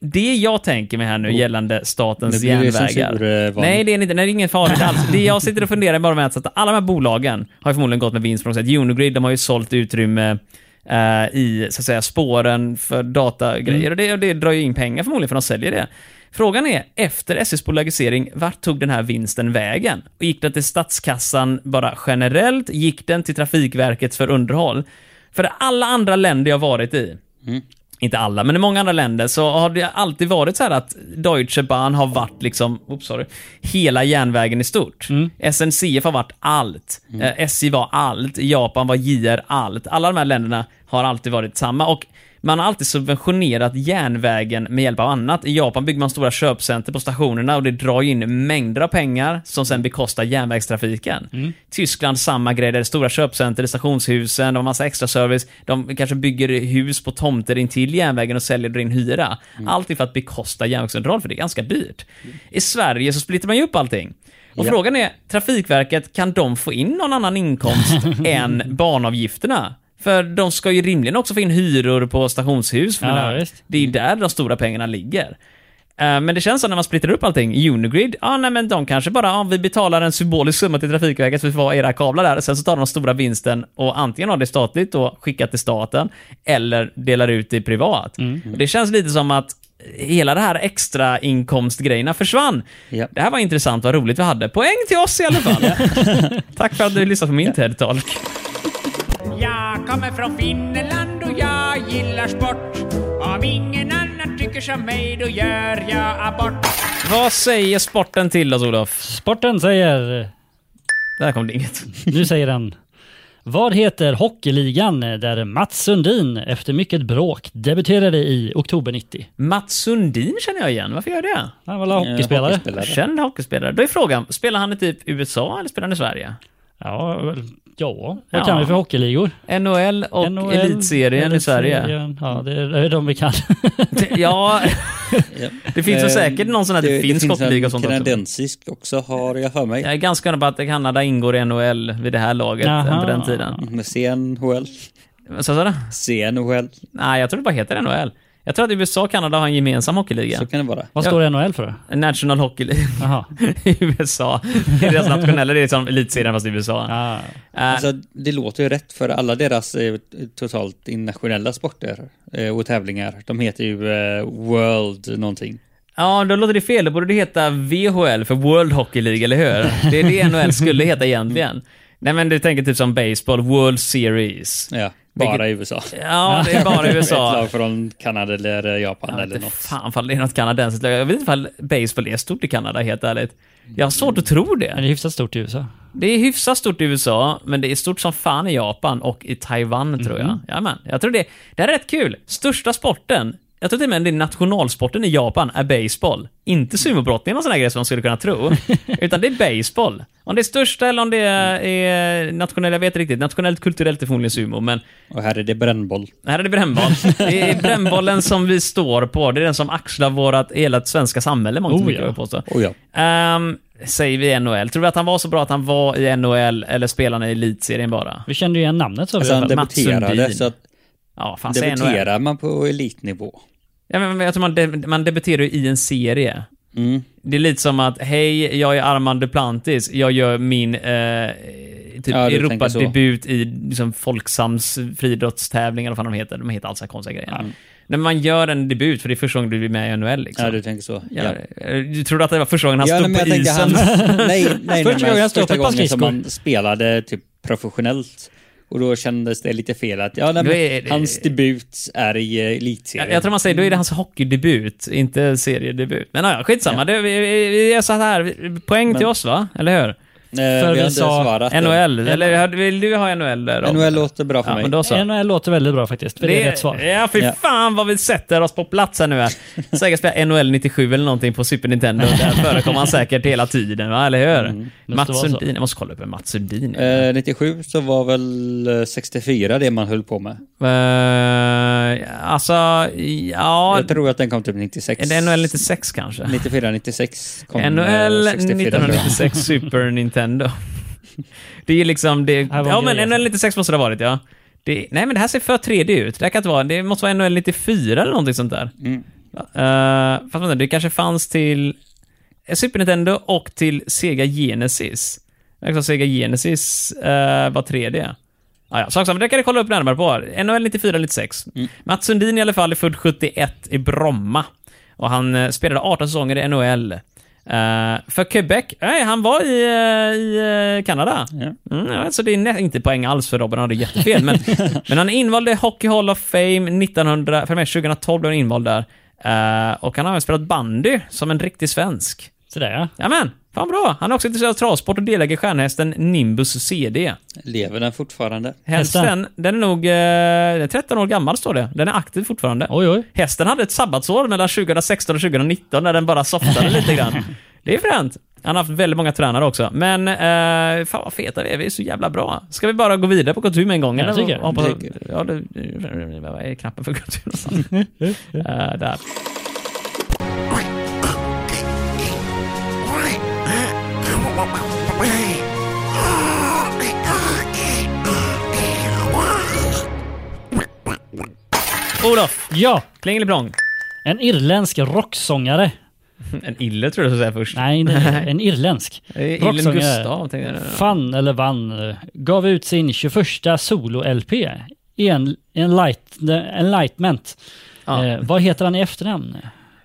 det jag tänker mig här nu gällande Statens
Nu blir det
järnvägar.
censurvarning.
Nej, det är inte, nej, det är ingen farligt alls. Det jag sitter och funderar bara med är att alla de här bolagen har ju förmodligen gått med vinst på något sätt. Unigrid, de har ju sålt utrymme eh, i så att säga, spåren för datagrejer
Mm.
och, det, och det drar ju in pengar förmodligen för de säljer det. Frågan är, efter SJs bolagisering, vart tog den här vinsten vägen? Och gick den till statskassan bara generellt? Gick den till Trafikverket för underhåll? För alla andra länder jag varit i,
Mm.
inte alla, men i många andra länder så har det alltid varit så här att Deutsche Bahn har varit liksom, oops, sorry, hela järnvägen i stort. SNCF har varit allt. Eh, SJ var allt. Japan var JR allt. Alla de här länderna har alltid varit samma. Och man har alltid subventionerat järnvägen med hjälp av annat. I Japan bygger man stora köpcenter på stationerna och det drar ju in mängder av pengar som sen bekostar järnvägstrafiken.
Mm.
Tyskland samma grej, där det är stora köpcenter, i stationshusen, de har massa extra service. De kanske bygger hus på tomter intill järnvägen och säljer det in hyra.
Mm.
Allt är för att bekosta järnvägsunderhåll, för det är ganska dyrt. I Sverige så splittrar man ju upp allting. Och frågan är, Trafikverket, kan de få in någon annan
*laughs*
inkomst än banavgifterna? För de ska ju rimligen också få in hyror på stationshus. För
Ja,
den här-
visst.
det är ju där de stora pengarna ligger. Eh, Men det känns som när man splittrar upp allting, Unigrid, ja nej men de kanske bara, ja, vi betalar en symbolisk summa till Trafikverket så vi får ha era kablar där, sen så tar de den stora vinsten och antingen har det statligt och skickat till staten, eller delar ut det privat. Och Det känns lite som att hela det här extra inkomstgrejerna försvann.
Ja.
Det här var intressant, vad roligt vi hade. Poäng till oss i alla fall. *laughs* Tack för att du lyssnade på min TED-talk.
Jag kommer från Finland och jag gillar sport. Om ingen annan tycker tycker som mig, då gör jag abort.
Vad säger sporten till oss, Olof?
Sporten säger...
Där kom det inget.
Nu säger den. Vad heter hockeyligan där Mats Sundin efter mycket bråk debuterade i oktober 90?
Mats Sundin känner jag igen. Varför gör jag det?
Han var alla hockeyspelare.
hockeyspelare.
Känd hockeyspelare. Då är frågan, spelar han i typ USA eller spelar han i Sverige?
Ja, väl, ja.
Ja.
vad kan vi för hockeyligor?
NHL och
NHL,
Elitserien i Sverige.
Elitserien. Ja, det är, det är de vi kan. *laughs*
*laughs* Ja, det finns väl
Ehm,
säkert någon sån här, det, finns hockeyliga och sånt
en
också.
kanadensisk också har jag för mig.
Jag är ganska hundra på att Kanada ingår i NHL vid det här laget
Jaha.
än på den tiden.
Med CNHL.
Vad sa du?
CNHL.
Nej, jag tror det bara heter NHL. Jag tror att USA och Kanada har en gemensam hockeyliga.
Så kan det vara.
Vad
Ja.
står NHL för?
National Hockey League
Jaha.
*laughs* i USA. Det är deras nationella, det är liksom elitserien fast i USA.
Ja.
Eh,
Alltså, det låter ju rätt för alla deras eh, totalt internationella sporter eh, och tävlingar. De heter ju eh, World någonting.
Ja, då låter det fel. Då borde det heta VHL för World Hockey League, eller hur? Det är det NHL skulle heta egentligen. Nej, men du tänker typ som baseball, World Series.
Ja, bara
Vilket-
i
*laughs*
USA.
Ja, det är
*laughs*
bara i
Ett
USA.
lag från Kanada eller Japan
Jag vet
eller
inte
något.
fan fall det är något kanadensiskt lag. Jag vet inte ifall baseball är stort i Kanada, helt ärligt. Jag har svårt att tro
Men
det.
det är hyfsat stort i USA.
Det är hyfsat stort i USA, men det är stort som fan i Japan och i Taiwan, tror jag. Jajamän. Jag tror det, det här är rätt kul. Största sporten, jag tror till och med det är nationalsporten i Japan, är baseball. Inte sumobrottning och sån här grej som man skulle kunna tro. utan det är baseball. Om det är största eller om det är, är nationellt, jag vet inte riktigt. Nationellt, kulturellt är förmodligen sumo, men
Och här är det brännboll.
här är det brännboll. Det
*laughs*
är brännbollen som vi står på. Det är den som axlar vårt hela svenska samhälle, mångt och
Oh,
mycket,
ja.
vill jag påstå.
Oh, ja.
Ehm, säger vi NHL. Tror du att han var så bra att han var i NHL eller spelarna i elitserien bara?
Vi kände ju igen namnet så vi
Alltså han
alltså,
Mats
debuterade,
Sundin.
så att
Ja, fan säg NHL.
debuterar man på elitnivå.
Ja, men, men jag tror man, deb- man debuterar ju i en serie.
Mm.
Det är lite som att, hej, jag är Armand Duplantis, jag gör min eh, typ
Ja, du tänker så.
Europadebut i liksom, Folksams friidrottstävling, eller vad fan de heter. De heter alltså konstiga grejer. När man gör en debut, för det är första gången du blir med i NHL. Liksom.
Ja, du tänker så. Ja.
Ja, Du trodde att det var första gången han
Ja,
stod på
men jag tänkte
isen?
han... *laughs* Nej, nej, nej,
Första
men
gången jag stod på
första
ett par
gången som
skridskor.
han spelade typ professionellt. Och då kändes det lite fel att, ja, nej,
Då är det-
men, hans debut är i eh,
*laughs*
elitserien.
Jag, jag tror man säger då är det hans hockeydebut, inte seriedebut. Men ja, ja, skitsamma. Det, vi, vi, vi är så här, poäng till oss va? Eller hur?
Eh,
För
vi
vi
har inte
sa
svarat än.
NHL, eller hade- vill du ha NHL där? då?
NHL låter bra för
Ja,
mig.
men då så.
NHL låter väldigt bra faktiskt, för det, är rätt svar.
Ja, för
Ja.
fan vad vi sätter oss på plats här nu.
*laughs*
Här. Säkert spela NHL 97 eller någonting på Super Nintendo. Där förekommer han säkert hela tiden, va? eller hur?
Mm,
måste
Mats
vara så.
Sundin. Jag måste kolla upp vem Mats Sundin är.
Eh, 97 så var väl eh, 64 det man höll på med.
Eh, alltså, ja...
Jag tror att den kom typ 96.
Är det NHL 96 kanske?
94, 96 kom eh,
NHL
64 tror jag.
1996 *laughs* Super Nintendo. Det är ju liksom det...
Här var
Ja,
en grej,
men NHL 96 måste det ha varit, ja. Det, nej, men det här ser för 3D ut. Det här kan inte vara... Det måste vara NHL 94 eller någonting sånt där.
Mm.
Eh, fast vänta, det kanske fanns till eh, Super Nintendo och till Sega Genesis. Alltså Sega Genesis eh, var 3D. Ah, ja, sak samma, det kan du kolla upp närmare på. NHL 94 96. Mats Sundin i alla fall är född 71 i Bromma. Och han eh, spelade 18 säsonger i NHL. Eh, för Quebec, nej, han var i, eh, i eh, Kanada. Mm, ja, så det är nä- inte poäng alls för Robin, han hade jättefel. men, men han är invald i Hockey Hall of Fame 1900, för mig 2012 blev han invald där. Eh, och han har även spelat bandy som en riktig svensk.
Sådär ja.
Jajamän, fan bra. Han är också intresserad av travsport och delägare i stjärnhästen Nimbus CD.
Lever den fortfarande?
Hästen.
Hästen, den är nog eh, den är 13 år gammal står det. Den är aktiv fortfarande.
Oj, oj.
Hästen hade ett sabbatsår mellan 2016 och 2019 när den bara softade
*laughs*
lite grann. Det är fränt. Han har haft väldigt många tränare också. Men eh, fan vad feta vi är, vi är så jävla bra. Ska vi bara gå vidare på kultur med en gång?
Ja,
eller?
tycker jag.
Hoppas-
Tycker
ja, det, vad är knappen för kultur
*laughs*
någonstans? Eh, där. Olof,
Ja,
Klingeliplong.
en irländsk rocksångare.
Mm, En ille tror jag du skulle säga först.
Nej, nej en irländsk.
Eh, Illen Gustav, tänkte jag.
Fann, eller vann, eh, gav ut sin 21 solo-LP. En, enlight, enlightenment.
Ja.
Eh, vad heter han i efternamn?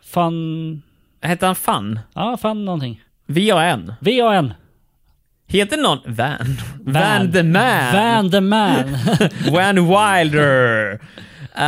Fann...
Hette han Fan?
Ja, Fann någonting.
VAN?
V-A-N.
Heter någon Van? Van, the Man?
Van the Man.
Van Wilder? Uh,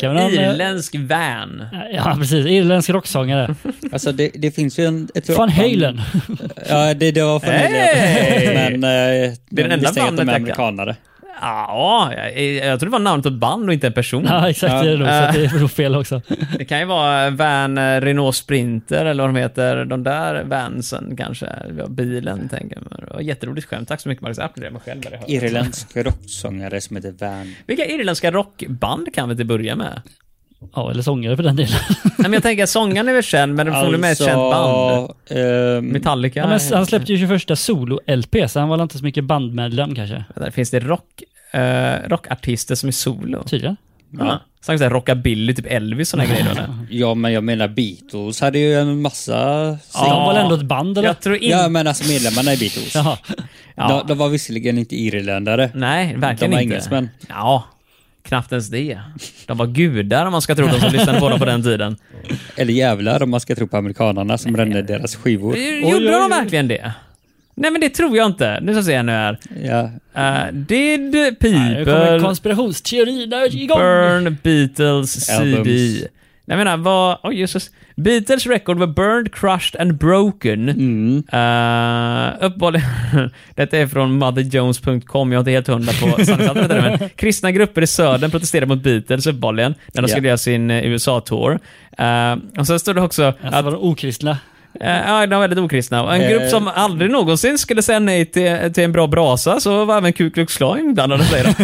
Kan man ha en-
irländsk van.
*laughs* Ja, precis. Irländsk rocksångare.
Alltså det, det finns ju en... Ett
Van Halen. *laughs*
Ja, det, det var Van Halen.
Hey!
Men eh,
Det är den
de
enda
visste att de är
bandet jag kan.
amerikanare.
Ja, jag, jag tror det var namnet på ett band och inte en person.
Ja, exakt. Det är nog så att det är nog fel också.
Det kan ju vara van eh, Renault Sprinter eller vad de heter. De där vansen kanske. Ja, bilen tänker jag. Det var ett jätteroligt skämt. Tack så mycket Magnus. Jag applåderar mig själv. där jag hör.
Irländsk rocksångare som heter Van.
Vilka irländska rockband kan vi till börja med?
Ja, eller sångare för den delen.
Nej, men jag tänker att sångaren är väl känd, men alltså, med ett känt band.
ehm,
Metallica.
Ja, men alltså, han släppte ju sin första solo-LP, så han var väl inte så mycket bandmedlem kanske.
Där finns det rock, eh, rockartister som är solo.
Tydligen.
Ja. Sen kan jag rockabilly, typ Elvis såna grejer. då, eller?
ja, men jag menar Beatles hade ju en massa...
Så de var väl ändå ett band eller?
Jag tror inte...
Ja, men alltså medlemmarna
*laughs*
i Beatles.
Jaha.
De, de var visserligen inte irländare.
Nej, verkligen
De var
inte.
engelsmän.
Ja, knappt ens det. De var gudar om man ska tro de som lyssnade på dem på den
*laughs*
tiden.
Eller jävlar om man ska tro på amerikanarna som brände deras skivor.
Gjorde de verkligen det? Nej men det tror jag inte. Nu ska jag se nu här.
Ja.
Uh, did
Nu kommer
people
konspirationsteorierna igång.
burn
*laughs*
Beatles
Albums.
CD? Nej jag menar vad... Oj Jesus. Beatles record were burned, crushed and broken.
Mm.
Uh, uppehålligen... *laughs* Detta är från motherjones.com, jag är inte helt hundra
*laughs*
på sanningshalten i det, men Kristna grupper i södern protesterade mot Beatles uppehålligen, när de
Ja.
skulle göra sin eh, USA-tour. Eh, och sen stod det också
Alltså
att
var de okristna.
Eh, Ja, de var väldigt okristna. Och En
Eh.
grupp som aldrig någonsin skulle säga nej till, till en bra brasa, så var även Ku Klux Klan inblandade, säger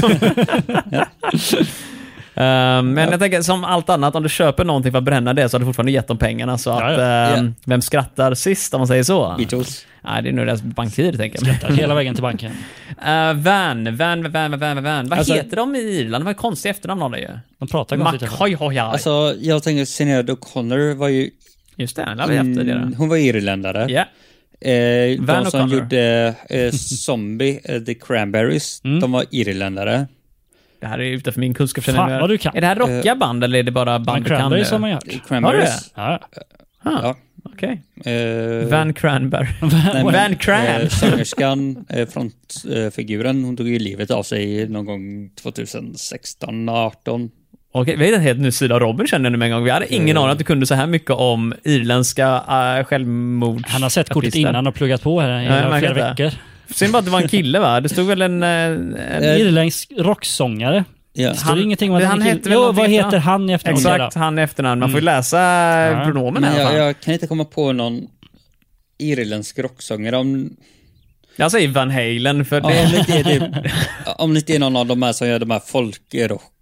de.
*laughs*
*laughs* Eh, Men jag tänker, som allt annat, om du köper någonting för att bränna det så har du fortfarande gett dem pengarna. Så att,
Ja, ja.
eh,
Ja.
vem skrattar sist om man säger så?
Beatles.
Nej, det är nog deras bankir, tänker jag.
Skrattar hela vägen till banken.
Eh, van, van, van, van, van. Vad
Alltså-
heter de i Irland? De har ju konstiga efternamn har de ju.
De pratar konstigt. i alla fall.
McHoyhoyhaj. Alltså,
Alltså, jag tänker Sinéad O'Connor var ju...
Just det, den har vi haft tidigare.
Mm, hon var irländare.
Ja.
Eh,
Van
de som
O'Connor.
gjorde
*laughs*
eh, Zombie, eh, The Cranberries,
Mm.
de var irländare.
Det här är utanför min kunskap. känner
Fan,
jag.
vad du kan.
Är
Eh,
det här rockiga band eller är det bara
Men
band du kan?
Cranberries
nu?
har man ju hört.
Cranberries.
Ja.
Ja.
Okej.
Eh,
Van
*laughs*
Cranberry.
nej, men,
Van Cran.
Eh, sångerskan, eh, frontfiguren, hon tog ju livet av sig någon gång 2016, 18.
Okej, vi har hittat en helt ny sida av Robin känner jag nu med en gång. Vi hade
Eh,
ingen aning att du kunde så här mycket om irländska uh, självmord.
Han har sett kortet
artister.
innan och pluggat på här i
jag märker
flera
det. Eh,
veckor.
Synd bara att det var en kille va? Det stod väl en... eh, en
Eh,
Irländsk rocksångare.
Ja.
Det står
Han-
ingenting om att
det-
han
han
är
hette
kille.
väl
Jo,
någonting
vad
innan?
heter han i efternamn?
exakt,
då?
han i efternamn. Man får ju läsa
Mm. Ja.
eh, pronomen här.
Men jag,
fan.
jag kan inte komma på någon irländsk rocksångare om,
Jag säger Van Halen för
om,
det...
*laughs* det, inte är det, om det inte är någon av de här som gör de här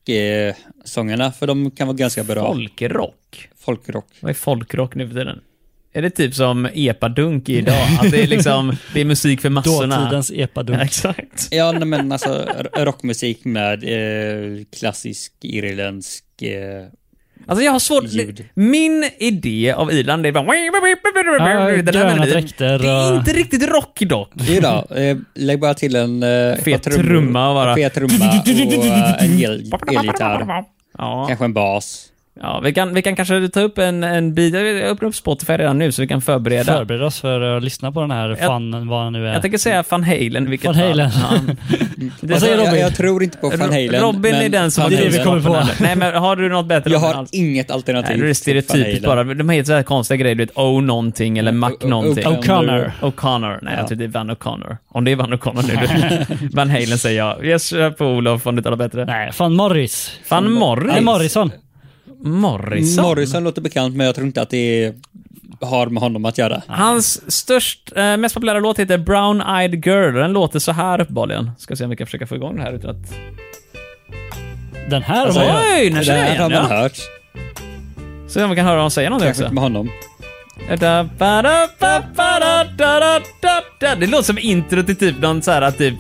folkrock-sångerna, för de kan vara ganska bra.
Folkrock?
Folkrock.
Vad är folkrock nu för tiden? Är det typ som epadunk idag? Att det är liksom, det är musik för massorna?
Dåtidens
Ja,
epadunk.
Exakt.
Ja, nej, men alltså r- rockmusik med eh, klassisk irländsk... Eh,
Alltså jag har svårt...
Ljud.
Min idé av Irland det är bara... Den här
gröna
melodin.
dräkter
Det är
och-
inte riktigt rock dock.
jo då, eh, lägg bara till en... Eh,
Fet
trum-
trumma bara.
Fet trumma och
*laughs*
eh, en el- elgitarr.
Ja,
Kanske en bas.
ja vi, kan, vi kan kanske ta upp en, en bit. Jag öppnar upp Spotify redan nu så vi kan förbereda.
Förbered oss för att lyssna på den här
Jag-
fanen, vad han nu är.
Jag tänker säga Van Halen i vilket
Van Halen.
fall. Ja.
Alltså,
säger
jag,
Robin.
jag tror inte på Van Halen.
Robin är
men
den som
Van
Det är det vi
Halen-
kommer på.
Nej men har du något bättre?
Jag
än
har
alls?
inget alternativ.
Nej, det är det
till Van
stereotypiskt bara.
Halen.
De heter så här konstiga grejer, du vet O någonting eller Mac
O- Mm, O-
någonting.
O'Connor.
O'Connor. Nej, jag tror det är Van O'Connor. Om det är Van O'Connor *laughs* nu. Van Halen säger jag. Jag kör på Olof om du talar bättre.
Nej, fan Morris.
Van
Nej,
Morris.
Morrison.
Morrison.
Morrison låter bekant, men jag tror inte att det är, har med honom att göra.
Hans störst, eh, mest populära låt heter Brown Eyed Girl. Den låter så här uppenbarligen. Ska se om vi kan försöka få igång det här utan att...
Den här
Alltså,
har jag.
Oj, nu
Det
känner jag
här har
igen
man
ja.
hört.
Se om vi kan höra honom säga någonting
Kanske
också.
inte med honom.
Da, ba, da, ba, ba, da, da, da, da, da. Det låter som intro till typ någon så här typ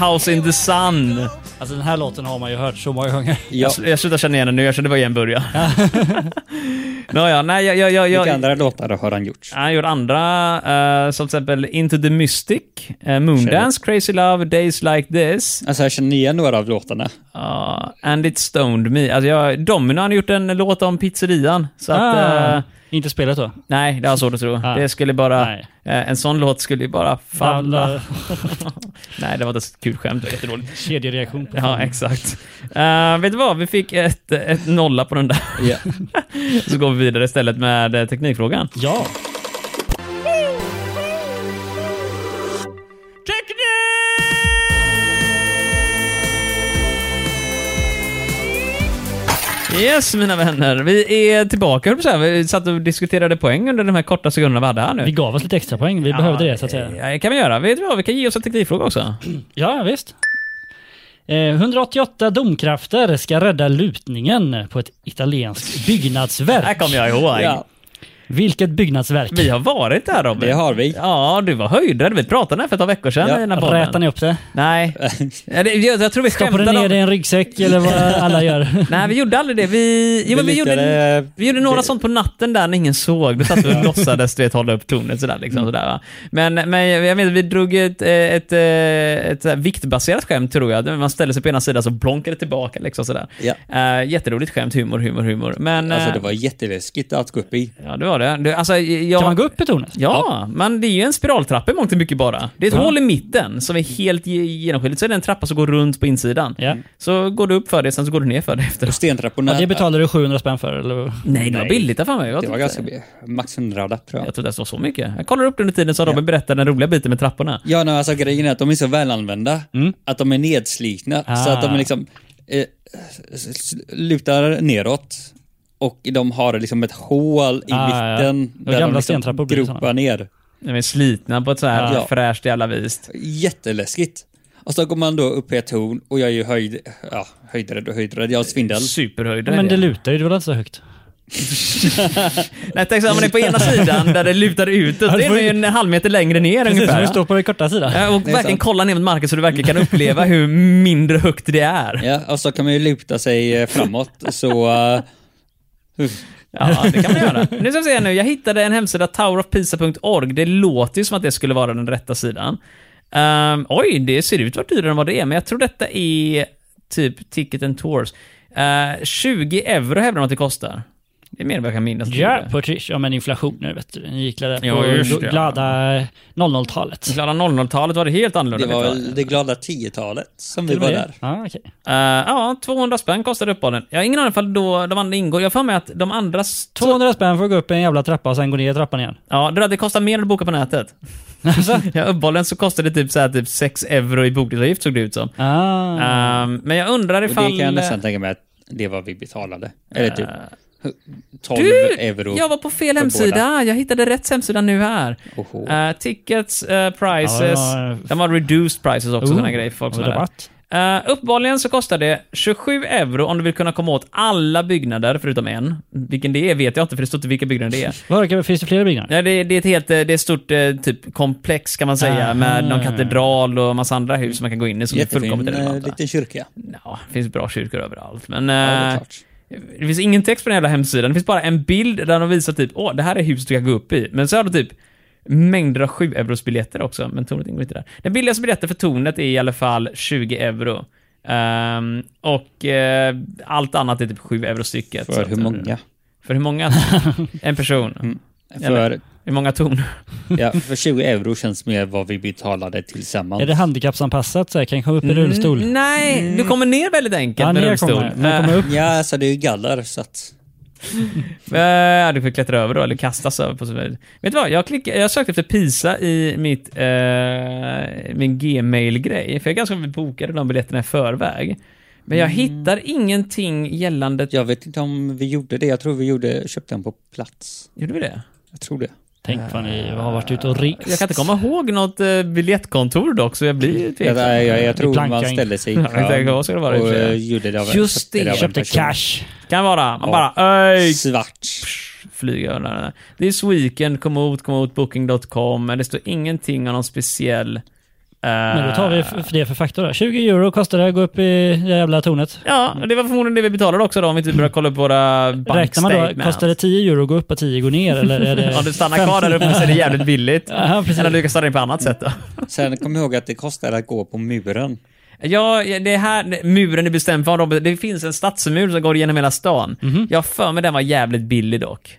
House in the Sun.
Alltså den här låten har man ju hört så många gånger.
Ja,
Jag, jag slutar känna igen den nu, jag kände bara igen början. *laughs* Nåja, nej jag... jag, jag, jag
vilka andra låtar har han gjort?
Han har gjort andra, eh, som till exempel Into the Mystic, eh, Moondance, Crazy Love, Days Like This,
Alltså jag känner igen några av låtarna.
ja And It Stoned Me. Alltså jag, Domino har gjort en låt om pizzerian. Så att, eh,
*laughs* Inte spelet då?
Nej, det har jag svårt att tro.
Ah.
Det skulle bara...
Nej.
Eh, en sån låt skulle ju bara falla.
Alla
Nej, det var inte ett kul skämt. Det var jättedåligt.
*laughs* kedjereaktion. På
Ja, exakt. Eh, vet du vad? Vi fick ett, ett nolla på den där.
Ja.
*laughs* Så går vi vidare istället med eh, teknikfrågan.
ja.
Yes, mina vänner. Vi är tillbaka, höll jag på att säga. Vi satt och diskuterade poäng under de här korta sekunderna vi hade här nu.
Vi gav oss lite extra poäng. Vi behövde det så att säga.
Ja, det kan vi göra. Vet du vad? Vi kan ge oss en teknikfråga också.
Ja, visst. Eh, 188 domkrafter ska rädda lutningen på ett *laughs* italienskt
Det här
byggnadsverk.
kommer jag ihåg.
Ja.
Vilket byggnadsverk?
Vi har varit där Robin.
Det har vi.
Ja, du var höjdrädd. Vi pratade här för ett par veckor sedan
Ja.
i den här podden.
Rätar ni upp det?
Nej. Ja, det- Jag, jag tror vi
Stoppar det
skämtade
ner
om...
det i en ryggsäck eller *laughs* vad alla gör?
Nej, vi gjorde aldrig det. Vi,
*laughs*
jo, men vi, gjorde,
litade-
vi gjorde några sånt på natten där när ingen såg. Då satt vi och låtsades du vet, hålla upp tornet sådär. Liksom, sådär va? Men, men jag menar, vi drog ett, eh, ett, eh, ett, sådär viktbaserat skämt tror jag. Där Man ställde sig på ena sidan så blonkade det tillbaka. Liksom, sådär.
Ja.
Eh, jätteroligt skämt, humor, humor, humor. Men,
Alltså
eh,
det var jätteläskigt att gå upp i.
Ja, det var det. det alltså, jag,
Kan man gå upp i tornet?
Ja, men det är ju en spiraltrappa i mångt och mycket bara. Det är ett hål i mitten som är helt ge- genomskinligt. Så är det en trappa som går runt på insidan.
Ja.
Så går du upp för det, sen så går du ner för det efter.
Och stentrapporna.
Ja, det betalar du 700 spänn för eller?
Nej, det var billigt där för mig. Jag
Det var
tyckte-
ganska bi- max 100 lapp tror jag.
Jag trodde det var så mycket. Jag kollar upp det under tiden så Robin berättar den roliga biten med trapporna.
Ja, nej, alltså grejen är att de är så välanvända
Mm.
att de är nedslitna så att de
Ah.
är liksom eh, s- s- lutar neråt och de har liksom ett hål i
Ah, ja, ja.
mitten liksom
Och gamla stentrappor blir såna.
gropar ner.
De är slitna på ett så här
Ja.
fräscht jävla vis.
Jätteläskigt. Och så går man då upp i ett torn och jag är ju höjd, ja, höjdrädd och höjdrädd, jag har svindel.
Superhöjder. är
Men det
det.
lutar ju, det var inte så högt.
Nej, tänk så här, man är på ena sidan där det lutar utåt.
Ja,
Det
det
är
får
nog
ju-
en halv meter längre ner
Precis som
ungefär.
du står på den korta sidan.
Ja, Och verkligen
sant.
kolla ner mot marken så du verkligen kan uppleva hur mindre högt det är.
Ja, och så kan man ju luta sig eh, framåt så... eh,
Ja, det kan man göra. Nu ska vi se nu. Jag hittade en hemsida, towerofpisa.org. Det låter ju som att det skulle vara den rätta sidan. Ehm, oj, det ser ut vart dyrare än vad det är, men jag tror detta är typ Ticket and Tours. Eh, 20 euro hävdar de att det kostar. Det är mer än vad jag kan minnas. att det
Ja,
gjorde.
på Trish. Ja, men inflationen vet du. Den gick där på
Ja, just det.
glada 00-talet.
Glada 00-talet var det helt annorlunda.
Det var
vet jag.
väl det glada 10-talet som vi
Till och
var
med
där.
det. Ja, okej.
Eh, ja, 200 spänn kostade uppehållen. Jag har ingen aning om då de andra ingår. Jag har för mig att de andra... Två...
200 spänn för att gå upp i en jävla trappa och sen gå ner i trappan igen.
Ja, det där, det kostar mer än att boka på nätet. ja, uppehållen så kostade det typ, så här, typ 6 euro i bokningsavgift såg det ut som.
Ah.
Ehm, men jag undrar
Mm. Och det
ifall...
kan jag nästan tänka mig att det var vi betalade. Eller typ 12
Eh, du,
euro.
jag var på fel
för
hemsida. Jag hittade rätt hemsida nu här.
Oho.
Eh, tickets, eh, prices.
Ja, det var-
De har reduced prices också,
Oh,
sådana grejer för folk som
det
är
var
där.
rabatt.
Uh, uppenbarligen så kostar det 27 euro om du vill kunna komma åt alla byggnader förutom en. Vilken det är vet jag inte för det står inte vilka byggnader det är.
Vad är det? Finns det flera
Nej,
byggnader?
det, det är ett helt eh, det är ett stort eh, typ, komplex kan man säga
Ah.
med någon katedral och massa andra hus som man kan gå in i som är
Jättefin
fullkomligt
eh,
relevanta.
liten kyrka.
Ja, det finns bra kyrkor överallt. Men,
Ja, det
eh,
är klart.
Det finns ingen text på den jävla hemsidan. Det finns bara en bild där de visar typ, åh, det här är huset du kan gå upp i. Men så har de typ mängder av 7 euros biljetter också, men tornet ingår inte där. Den billigaste biljetten för tornet är i alla fall 20 euro. Ehm, och eh, allt annat är typ 7 euro stycket. Så
För
att- eh,
hur många?
För hur
*laughs*
många? en person.
För,
Hur många torn?
*laughs* ja, för 20 euro känns mer vad vi betalade tillsammans.
Är det handikappsanpassat så jag kan komma upp i rullstol?
Nej, du kommer ner väldigt enkelt
Ja,
med
ner
Mm, rullstol. Äh.
kommer jag. Men jag kommer upp.
Ja, alltså det är ju galler så att...
Eh, Ja, du får klättra över då, eller kastas över på så vis. Vet du vad? Jag, klickade, jag sökte efter PISA i mitt, eh, min Gmail-grej, för jag ganska väl bokade de biljetterna i förväg. Men
Mm.
jag hittar ingenting gällande...
Jag vet inte om vi gjorde det. Jag tror vi gjorde, köpte den på plats.
Gjorde vi det?
Jag tror det.
Tänk vad ni har varit ute och rest.
Jag kan inte komma ihåg något eh, biljettkontor dock, så jag blir ju
Jag,
tveksam.
jag, jag, jag tror
plankar
man
in.
ställde sig i
Ja, exakt, vad ska det vara i och
och
för sig?
eh, gjorde det av en-
Just
köpte
det,
av en
Köpte
person.
cash.
Kan vara. Man
Ja.
bara öj!
Svart.
Flyga över den här. Det är Sweekend, kom ut, kom ut, booking.com, men det står ingenting om någon speciell... eh,
Men då tar vi f- för det för faktor då. 20 euro kostar det att gå upp i det jävla tornet.
Ja, och det var förmodligen det vi betalade också då, om vi inte börjar kolla upp våra
Mm. Räknar man då,
bankstatements.
kostar det 10 euro att gå upp och 10 går ner?
*laughs*
Eller är det
Om du stannar kvar där uppe så är det
*laughs*
jävligt billigt.
Ja, precis.
Eller du kan stanna in på annat sätt
*laughs*
då.
Sen kom jag ihåg att det kostade att gå på muren.
Ja, det här, muren är bestämd
Mhm.
för Robert. Det finns en stadsmur som går igenom hela stan. Jag har för mig den var jävligt billig dock.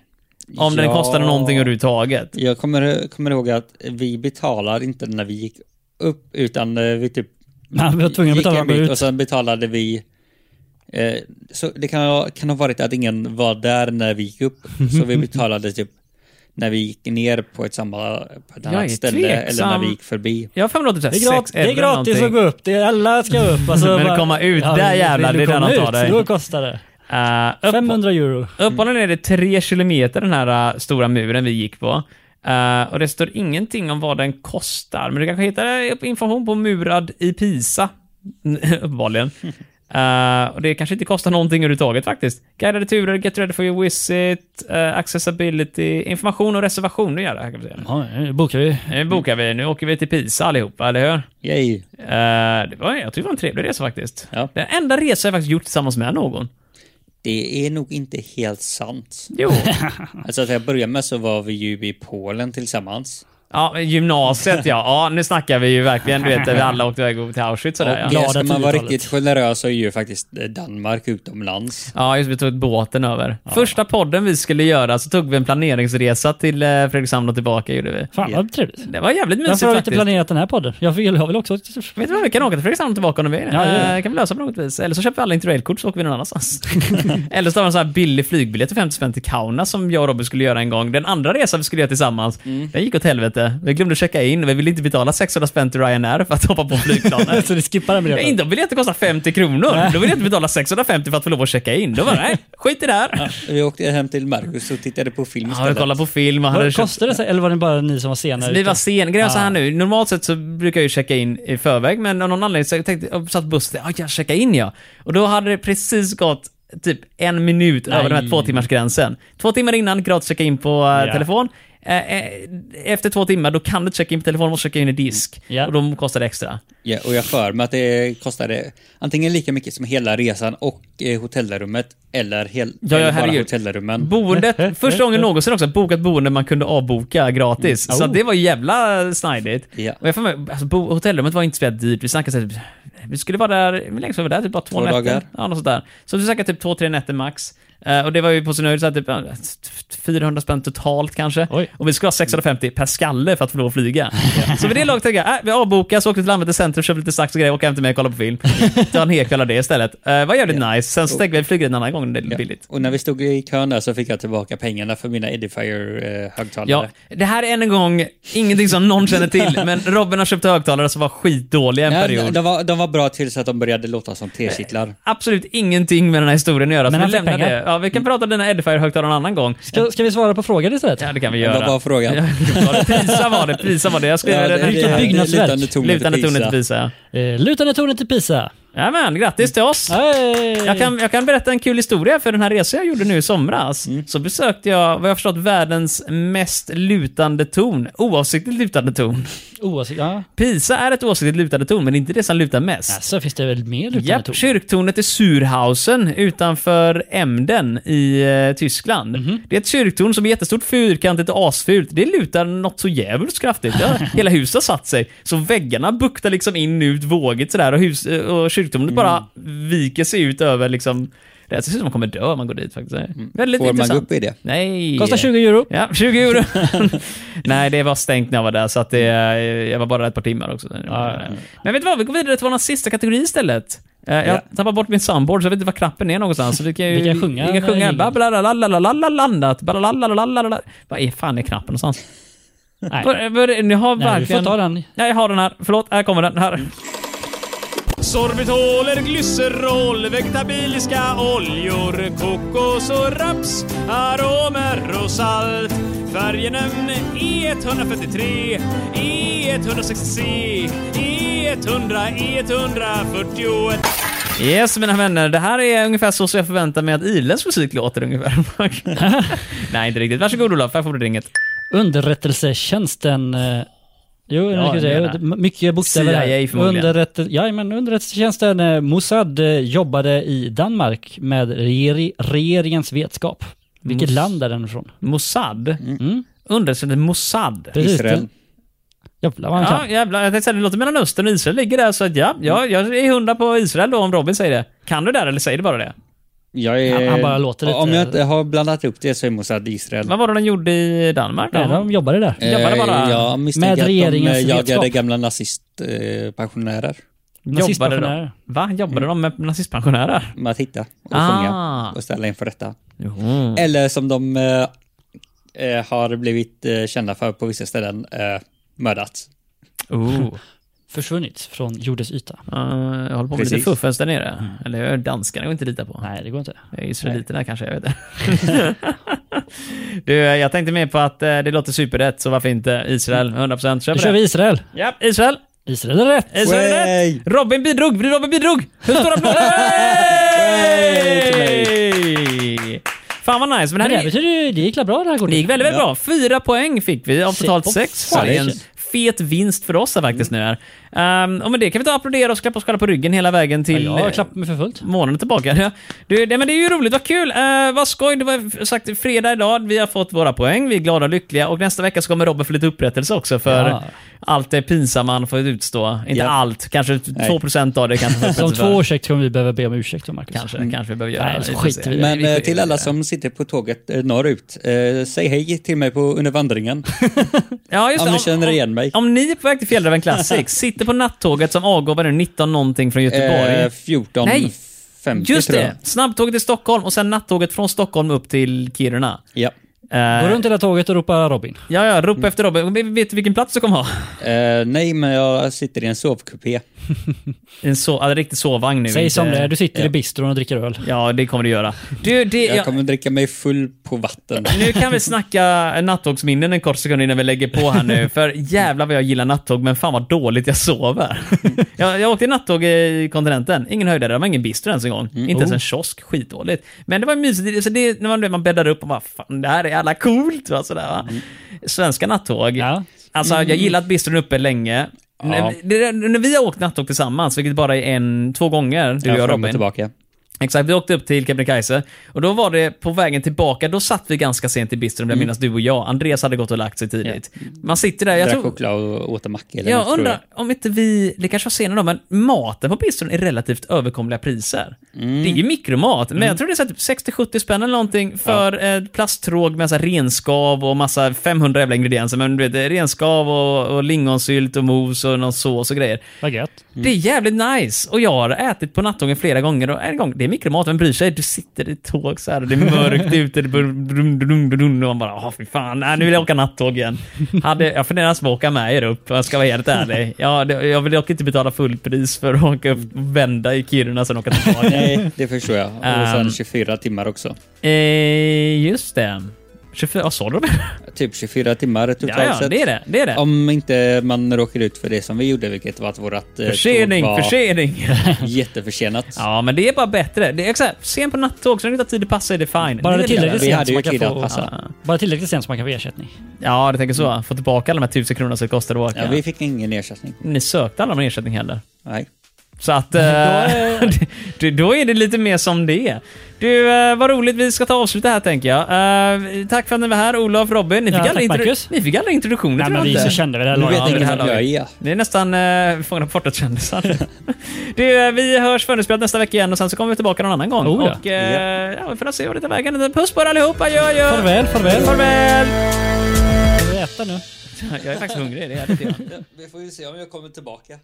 Om den
Ja.
kostade någonting överhuvudtaget.
Jag kommer, kommer ihåg att vi betalar inte när vi gick upp, utan eh, vi typ
Man var tvungen att
gick
betala
en bit
ut.
och sen betalade vi eh, så det kan ha, kan ha varit att ingen var där när vi gick upp,
*laughs*
så vi betalade typ när vi gick ner på ett, samma, på ett
Jag
annat
är
ställe eller när
tveksam.
vi gick förbi.
Jag har för mig att det var
Det
typ
är, grat-
6
det är gratis att gå upp, det är alla ska upp. Alltså,
*laughs* Men
bara-
komma ut, där
men
jävlar,
vill
det är
du
den
komma
han tar dig.
ut, Då kostar det.
Äh, upp,
500 euro.
Upp och ner är det tre kilometer den här äh, stora muren vi gick på. Eh, och det står ingenting om vad den kostar, men du kanske hittar eh, information på Murad i Pisa. *laughs* Uppenbarligen. Eh, och det kanske inte kostar någonting överhuvudtaget faktiskt. Guidade turer, get ready for your visit, eh, accessibility, information och reservation. Nu gör det här kan vi säga.
Ja, nu bokar vi.
Nu bokar vi, nu åker vi till Pisa allihopa, eller hur?
Yay!
Eh, det var, jag tycker det var en trevlig resa faktiskt.
Ja.
Den enda resa jag faktiskt gjort tillsammans med någon.
Det är nog inte helt sant.
Jo.
Alltså till att börja med så var vi ju i Polen tillsammans.
Ja, men gymnasiet ja. Ja, nu snackar vi ju verkligen, du vet, där vi alla åkte iväg till Auschwitz och där,
Och
ja.
glada
ska man vara
10-talet.
riktigt generös så är ju faktiskt eh, Danmark utomlands.
Ja, just vi tog båten över. Första podden vi skulle göra så tog vi en planeringsresa till eh, Fredrikshamn och tillbaka gjorde vi.
Fan vad trevligt.
Det var jävligt mysigt
Varför har vi inte
faktiskt.
planerat den här podden? Jag vill, jag vill också...
Vet du vad, vi kan åka till Fredrikshamn och tillbaka om vi vill.
Ja, gör det.
Eh, kan vi lösa på något vis. Eller så köper vi alla interrailkort så åker vi någon annanstans. *laughs* Eller så tar vi en sån här billig flygbiljett för 50 spänn till Kaunas som jag och Robin skulle göra en gång. Den andra resan vi skulle göra tillsammans,
Mm.
den gick åt helvete. Vi glömde checka in, vi ville inte betala 600 spänn till Ryanair för att hoppa på flygplanet.
*laughs* Så du skippar den
Ja,
biljetten?
inte om biljetten kostar 50 kronor. Då vill jag inte betala 650 för att få lov att checka in. Då bara, nej, skit i det här.
Vi åkte hem till Marcus och tittade på
Ja,
film
vi
istället.
kollade på film och hade
Vad
köpt-
Kostade det sig, eller var det bara ni som var sena?
Alltså, Vi
ute?
var sen. Grejen var så här
Ah.
nu, normalt sett så brukar jag ju checka in i förväg, men av någon anledning så jag tänkte jag, satt bussen, ja jag checkar in ja. Och då hade det precis gått typ en minut över den här två timmars gränsen. Två timmar innan, gratis checka in på eh,
Ja.
telefon. Eh, eh, efter två timmar, då kan du inte checka in på telefon, måste checka in i disk.
Ja.
Och då kostar det extra.
Ja, och jag för mig att det kostade antingen lika mycket som hela resan och eh, hotellrummet eller, hel,
Ja, ja,
eller bara
herregud.
hotellrummen.
Boendet, första gången någonsin också, bokat boende man kunde avboka gratis. Så
Oh.
det var jävla snidigt.
Ja.
Och jag får med, alltså, bo, hotellrummet var inte så jävla dyrt. Vi snackade så här, typ, vi skulle vara där, hur länge skulle vi vara där? Typ bara två,
Två
nätter?
dagar.
Ja, något sånt där. Så vi snackade typ två, tre nätter max. Eh, och det var ju på sin höjd så här, typ ja, 400 spänn totalt kanske.
Oj.
Och vi skulle ha 650 per skalle för att få lov att flyga. Så vid det laget tänkte jag, äh, vi avbokar, så åker vi till Landvetter centrum, köper lite sax och grejer, åker hem till mig och kollar på film. Ta en hel kväll av det istället. Uh, var jävligt nice. Sen så tänkte vi flyga en annan gång när det är
Ja.
billigt.
Och när vi stod i kön där så fick jag tillbaka pengarna för mina Edifier-högtalare.
Ja, det här är än en gång ingenting som någon känner
*laughs*
till, men Robin har köpt högtalare som var skitdåliga en
de,
period.
de, var, de var bra tills att de började låta som tekittlar.
Absolut ingenting med den här historien att göra, så
Men
vi
han fick
lämnar
pengar.
det. Ja, vi kan prata om dina Edifier-högtalare en annan gång.
Ska, ska vi svara på frågan istället?
Ja, det kan vi
Det
göra.
var bara frågan.
Ja, Pisa var det, Pisa var det. Jag ska
Ja,
göra
det-
den
det- det-
här.
byggnadsverk.
lutande tornet i
Lutande tornet
Pisa.
till Pisa,
Eh, lutande tornet till Pisa.
ja. Jajamän, grattis till oss!
Hey.
Jag kan, jag kan berätta en kul historia för den här resan jag gjorde nu i somras.
Mm.
Så besökte jag, vad jag förstått, världens mest lutande torn. Oavsiktligt lutande torn.
Oavsett, ja.
Pisa är ett oavsiktligt lutande torn, men det är inte det som lutar mest.
Alltså, finns det väl mer lutande
Japp,
torn?
kyrktornet i Surhausen utanför Emden i eh, Tyskland.
Mhm.
Det är ett kyrktorn som är jättestort, fyrkantigt och asfult. Det lutar något så jävligt kraftigt.
*laughs*
Ja, hela huset har satt sig. Så väggarna buktar liksom in ut vågigt sådär och, hus, eh, och kyrktornet
Mm.
bara viker sig ut över liksom... Det här ser ut som man kommer dö om man går dit faktiskt. Väldigt
Får man
intressant.
gå upp i det?
Nej.
Mm. Kostar 20 euro.
Ja, 20 euro. Nej, det var stängt när jag var där, så att det, jag var bara där ett par timmar också. Men vet du vad, vi går vidare till vår sista kategori istället. Eh, Jag
Ja.
tappar bort min soundboard, så jag vet inte var knappen är någonstans. Så vi kan ju...
Vi kan sjunga
Vi kan sjunga.
en-
Babblalalalalalalandat, babblalalalalala. Vad är fan är knappen någonstans?
Nej.
Var- var- Ni har
Nej, du får
verkligen...
ta den.
Ja, jag har den här. Förlåt, här kommer den. Här. Sorbitoler, glycerol, vegetabiliska oljor, kokos och raps, aromer och salt. E Färgenämn E143, E E160C, E E100, E141. Yes, mina vänner. Det här är ungefär så som jag förväntar mig att irländsk musik låter ungefär. Nej, inte riktigt. Varsågod Olof, här får du ringet.
Underrättelsetjänsten. eh,
Ja,
Jo, ja, ska jag
jag
säga,
menar.
m- mycket bokstäver
CIA förmodligen.
Underrättel, ja, men underrättelsetjänsten eh, Mossad eh, jobbade i Danmark med regeri, regeringens vetskap. Vilket land är den ifrån?
Mossad? Mm. Underrättelsen Mossad.
Precis,
Israel.
den- Jävlar vad han
Ja,
kan. Mm.
jävlar. Jag tänkte säga det låter Mellanöstern och Israel ligger där, så att ja, ja jag är hundra på Israel då om Robin säger det. Kan du där eller säger du bara det?
Jag är,
Han- han bara låter lite-
Om jag inte har blandat upp det så är Mossad Israel.
Vad var det de gjorde i Danmark då?
Nej, de jobbade där.
Eh,
jobbade bara
jag misstänker
med
att de
regeringens
eh, jagade
vetskap.
gamla nazistpensionärer. Eh, pensionärer.
jobbade de?
Nazistpensionärer.
Va? Jobbade de med nazistpensionärer?
med att hitta och
Ah.
fånga och ställa inför rätta.
Jo.
Eller som de eh, eh, har blivit eh, kända för på vissa ställen, eh, mördat.
Oh.
Försvunnit från jordens yta.
Eh, jag håller på med lite
Precis.
fuffens där nere. Eller jag är danskarna går inte att lita på.
Mm. Nej, det går inte.
Jag är Israeliterna kanske, jag
*laughs*
vet inte. *laughs* du, jag tänkte mer på att eh, det låter superrätt, så varför inte Israel? 100% kör
Mm. Då
på
kör
det.
vi Israel.
Ja, Israel! Eh,
Israel är rätt.
Israel är
Way!
rätt! Robin bidrog! Robin bidrog! Hur står
*laughs*
det på
Way to
Hey! Fan vad nice, men det
Men
här
det,
är
här betyder ju, det gick väl bra det
det
här gången.
gick väldigt, väldigt bra. Fyra poäng fick vi av
Shit, Mm.
totalt
på
sex. Så
fan.
det är en fet vinst för oss här faktiskt nu här. Um, och med det kan vi ta och applådera och klappa oss själva på ryggen hela vägen till Eh,
Ja, jag klappar mig för fullt.
månaden tillbaka. Ja. Du, det, men det är ju roligt, vad kul! Uh, vad skoj, det var sagt fredag idag, vi har fått våra poäng, vi är glada och lyckliga och nästa vecka så kommer Robin få lite upprättelse också för
Ja.
allt det pinsamma han får utstå. Inte
Ja.
allt, kanske 2% av det kanske får
Som
upprättelse
två
för.
ursäkter kommer vi behöva be om ursäkt för, Marcus.
Kanske, kanske vi behöver göra.
Nej, så skiter vi i det.
Men eh, till alla som sitter på tåget eh, norrut, eh, säg hej till mig på
*laughs*
under vandringen.
Ja, just
Om
det.
ni känner igen mig.
Om ni är på väg till Fjällräven Classic, sitter på nattåget som avgår nu 19 någonting från Göteborg.
Eh, 14,
Nej.
50
Just
tror jag.
det! Snabbtåget till Stockholm och sen nattåget från Stockholm upp till Kiruna.
Ja.
Gå
Eh,
runt hela tåget och ropa Robin.
ja, ja, ropa efter Robin. Vi- Vet du vilken plats du kommer ha?
Eh, nej, men jag sitter i en sovkupé.
En, so- en riktig sovvagn nu.
Säg
inte-
som det är, du sitter
ja.
i bistron och dricker öl.
Ja, det kommer du göra. Du, det,
Jag
jag-
kommer dricka mig full på vatten.
*laughs* Nu kan vi snacka nattågsminnen en kort sekund innan vi lägger på här nu. För jävlar vad jag gillar nattåg, men fan vad dåligt jag sover. *laughs* Jag, jag åkte nattåg i kontinenten. Ingen höjdare, det var ingen bistro ens en gång. Inte ens en kiosk, skitdåligt. Men det var mysigt, så det, när man, man bäddar upp och bara fan det här är jävla coolt. Va? Sådär, va? Svenska nattåg.
Ja.
Alltså jag gillat bistron uppe länge. När, det, när vi har åkt nattåg tillsammans, vilket bara är en, två gånger, du och
jag
jag
fram och
Robin.
tillbaka.
Exakt, vi åkte upp till Kebnekaise och då var det på vägen tillbaka, då satt vi ganska sent i bistron, mm. medan du och jag, Andreas hade gått och lagt sig tidigt. Man sitter där, jag
Drack
tror...
choklad och åt en macka eller något,
Jag
tror
undrar om inte vi, det kanske var senare då, men maten på bistron är relativt överkomliga priser. Det är ju mikromat, men jag tror det är så här typ 60-70 spänn eller någonting för eh, plasttråg med så här renskav och massa 500 jävla ingredienser, men du vet, renskav och, och lingonsylt och mos och någon sås och grejer.
Vad gött.
Det är jävligt nice. Och jag har ätit på nattågen flera gånger och en gång, det är mikromat, vem bryr sig? Du sitter i ett tåg så här och det är
*laughs*
mörkt ute, det brum, brum, brum, brum, och man bara, åh fy fan, nej, nu vill jag åka nattåg
*laughs*
igen. Hade, jag funderar på att åka med er upp, jag ska vara helt
*laughs*
ärlig. Jag, det- jag vill dock inte betala fullpris för att åka upp, vända i Kiruna och sen åka tillbaka.
*laughs* Nej, det förstår jag. Och
Ehm.
sen 24 timmar också.
eh, just det. 24, vad sa du? *laughs*
Typ 24 timmar totalt
Ja, ja,
sett.
det är det. det, är det.
Om inte man råkar ut för det som vi gjorde, vilket var att vårat eh,
Försening,
tåg var
försening.
jätteförsenat.
Ja, men det är bara bättre. Det är exakt, sen på nattåg, så när du inte har tid att passa är det fine.
Bara det
är
tillräckligt
Vi
sent
hade
så
ju
man kan
killar
få...
passa.
Ja. Bara tillräckligt sent så man kan få ersättning.
Ja, det tänker så. Få tillbaka alla de här tusen kronorna som det kostar att åka.
Ja, vi fick ingen ersättning.
Ni sökte aldrig någon ersättning heller. *laughs*
Nej.
Så att... eh, du, då är *laughs* det lite mer som det är. Du, eh, vad roligt. Vi ska ta och avsluta här tänker jag. Eh, tack för att ni var här, Olof, Robin. Ni
Ja,
fick,
tack,
aldrig,
Marcus.
ni fick aldrig introduktioner
Nej,
tror
men
jag
vi så
inte.
kände vi det här
Nu
laget.
vet
det
ingen
här
vem jag är.
Ni är nästan uh, fångade borta kändisar. *laughs* du, eh, vi hörs förinspelat nästa vecka igen och sen så kommer vi tillbaka någon annan gång.
Oh, ja.
Och eh, ja, vi får se vad det tar vägen. Puss på er allihopa. Adjö, adjö.
Farväl, farväl.
Farväl.
Ska vi äta nu?
Jag är faktiskt hungrig. Det är jag lite grann.
Vi får ju se om jag kommer tillbaka.